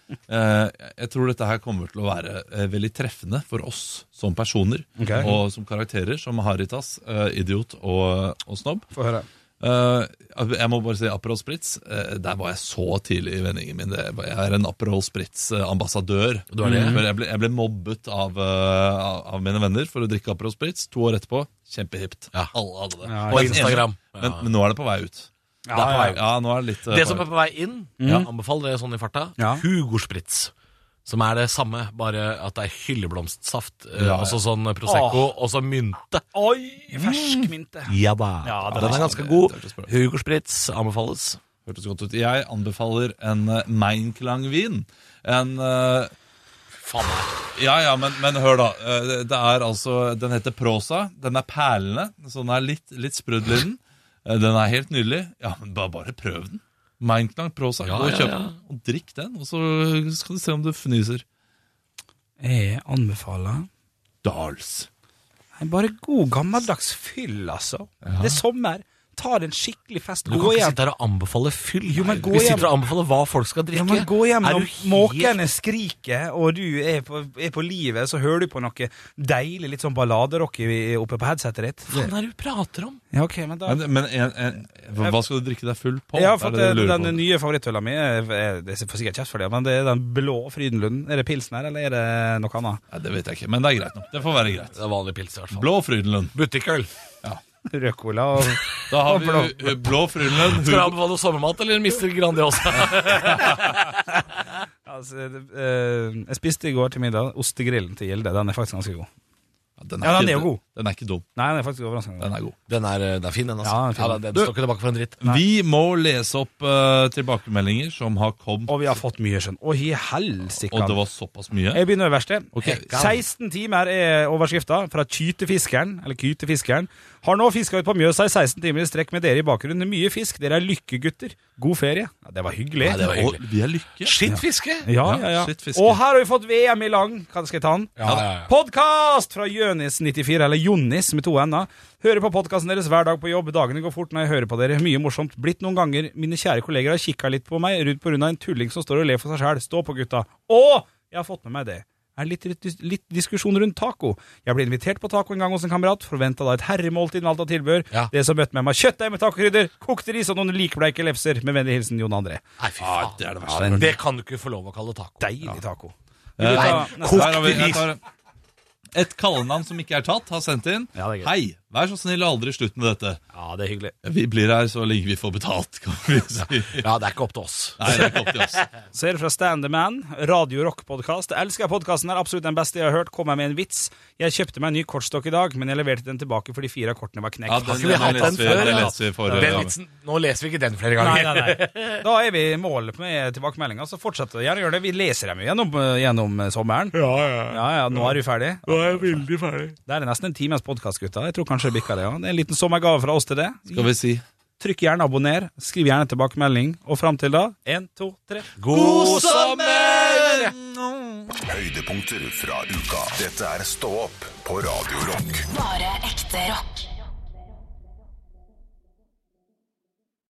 eh, Jeg tror dette her kommer til å være eh, veldig treffende for oss som personer Ok. og som karakterer, som Haritas, eh, idiot og, og snobb. Få høre. Eh, jeg må bare si Aperol Spritz. eh, der var jeg så tidlig i vendingen min. Det, var- jeg er en Aperol Spritz-ambassadør. Mm. Jeg, ble- jeg ble mobbet av, eh, av- av mine venner for å drikke Aperol Spritz. To år etterpå, kjempehipt. Alle hadde det. Ja, Og På jeg- Instagram. Men, men nå er det på vei ut. Det er Ja, på ja, vei- ja, nå er det litt eh, Det på som vei er på vei inn, ja. anbefal det sånn i farta, Ja. Hugo Spritz. Som er det samme, bare at det er hylleblomstsaft. eh, Ja. Altså sånn Prosecco, og så mynte. Oi, fersk mynte. Ja da. den, er ganske god. sånn, det hørtes bra ut. Hugo Spritz anbefales. Hørtes godt ut. Jeg anbefaler en eh, Meinklang-vin. En eh, Faen. Ja, ja, men, men hør, da. Eh, det- det er altså Den heter Prosa. Den er perlende, så den er litt, litt sprudel i den. Eh, Den er helt nydelig. Ja, men bare, bare prøv den. Meinklang Prosa. Ja, Gå og ja, kjøp ja. den, og drikk den, og så skal du se om du fnyser. Jeg anbefaler Dals. Nei, bare god gammeldags fyll, altså. Det er sommer. Ta det en skikkelig fest. Du kan Gå ikke hjem. sitte her og anbefale fyll. Jo, men Nei, du gå hjem. sitter og anbefaler hva folk skal drikke. Ja, men gå hjem Er du når helt- måkene skriker, og du er på, er på livet, så hører du på noe deilig, litt sånn balladerock i- oppe på headsetet ditt. Hva faen er det du prater om? Ja, ok, men da... Men, men en, en, hva skal du drikke deg full på? Jeg har Er fått det det du lurer på? den nye favorittøla mi. Jeg er- Jeg får sikkert kjeft for det, men det er den blå Frydenlund. Er det pilsen her, eller er det noe annet? Nei, det vet jeg ikke, men det er greit nå. Det får være greit. Det er vanlig pils, i hvert fall. Blå Frydenlund. Butikkøl. Rød cola og Da har Og vi blå. eh, Blå Frydenlund. Skal du Hugo- anbefale sommermat eller Mister Grandiosa? altså, det- eh, Jeg spiste i går til middag ostegrillen til Gilde. Den er faktisk ganske god. Den Ja, den ikke- er jo god. Den er ikke dum. Nei, den er faktisk overraskende god. Den er god. Den er, eh, den er fin, den. altså Ja, den er fin. da, den står ikke tilbake for en dritt. Vi må lese opp eh, tilbakemeldinger som har kommet, Og vi har fått mye skjønn. Å, i og det helsike. var såpass mye. Jeg begynner øverst. jeg. Ok. 16 timer er overskrifta fra Kytefiskeren. Eller Kytefiskeren. Har nå fiska ut på Mjøsa i 16 timer i strekk med dere i bakgrunnen. Mye fisk. Dere er lykkegutter. God ferie. Ja, det var hyggelig. Nei, det var Og hyggelig. vi er lykke. Skitt fiske! Ja, Ja, ja, ja. shit, fisker. Og her har vi fått VM i lang. Kan skal jeg ta den? Ja, ja, ja. Podkast fra Jønis94, eller Jonnis med to n-er. Hører på podkasten deres hver dag på jobb. Dagene går fort når jeg hører på dere. Mye morsomt. Blitt noen ganger. Mine kjære kolleger har kikka litt på meg rundt pga. en tulling som står og ler for seg sjæl. Stå på, gutta. Og jeg har fått med meg det. er litt, litt, litt diskusjon rundt taco. Jeg ble invitert på taco en gang hos en kamerat, forventa da et herremåltid med alt av tilbør. Ja. Det som møtte meg, var kjøttdeig med tacokrydder, kokte ris og noen likbleike lefser. Med vennlig hilsen Jon André. Nei, fy faen. det er det verste Ja, jeg har hørt. det kan du ikke få lov å kalle taco. Deilig taco. Eh, Vil du ta nei, neste? her har vi- jeg tar- Et kallenavn som ikke er tatt, har sendt inn. Ja, det er gøy. Hei, vær så snill og aldri slutt med dette. Ja, det er hyggelig. Vi blir her så lenge vi får betalt, kan vi si. Ja, det er ikke opp til oss. Nei, det er ikke opp til oss. Så er det fra Stand the Man, Radio Rock Podcast. Jeg elsker podkasten, er absolutt den beste jeg har hørt. Kom meg med en vits. Jeg kjøpte meg en ny kortstokk i dag, men jeg leverte den tilbake fordi fire av kortene var Ja, knekt. den, ikke vi hatt den leser vi, før, den eller? leser vi forrige Den gang. vitsen, nå leser vi ikke den flere Nei, ganger. nei, nei. Da er vi i mål med tilbakemeldinga, så fortsett å gjerne gjøre det. Vi leser dem jo gjennom, eh, gjennom sommeren. Ja, ja, nå er vi ferdig. Nå er jeg veldig ferdig. Det er nesten en times podkast, gutta. Jeg tror kanskje det bikker det. Ja. Det er en liten sommergave fra oss til det. Skal vi si Trykk gjerne abonner, skriv gjerne tilbakemelding, og fram til da én, to, tre. God sommer! Høydepunkter fra uka. Dette er Stå opp på Radio Rock. Bare ekte rock.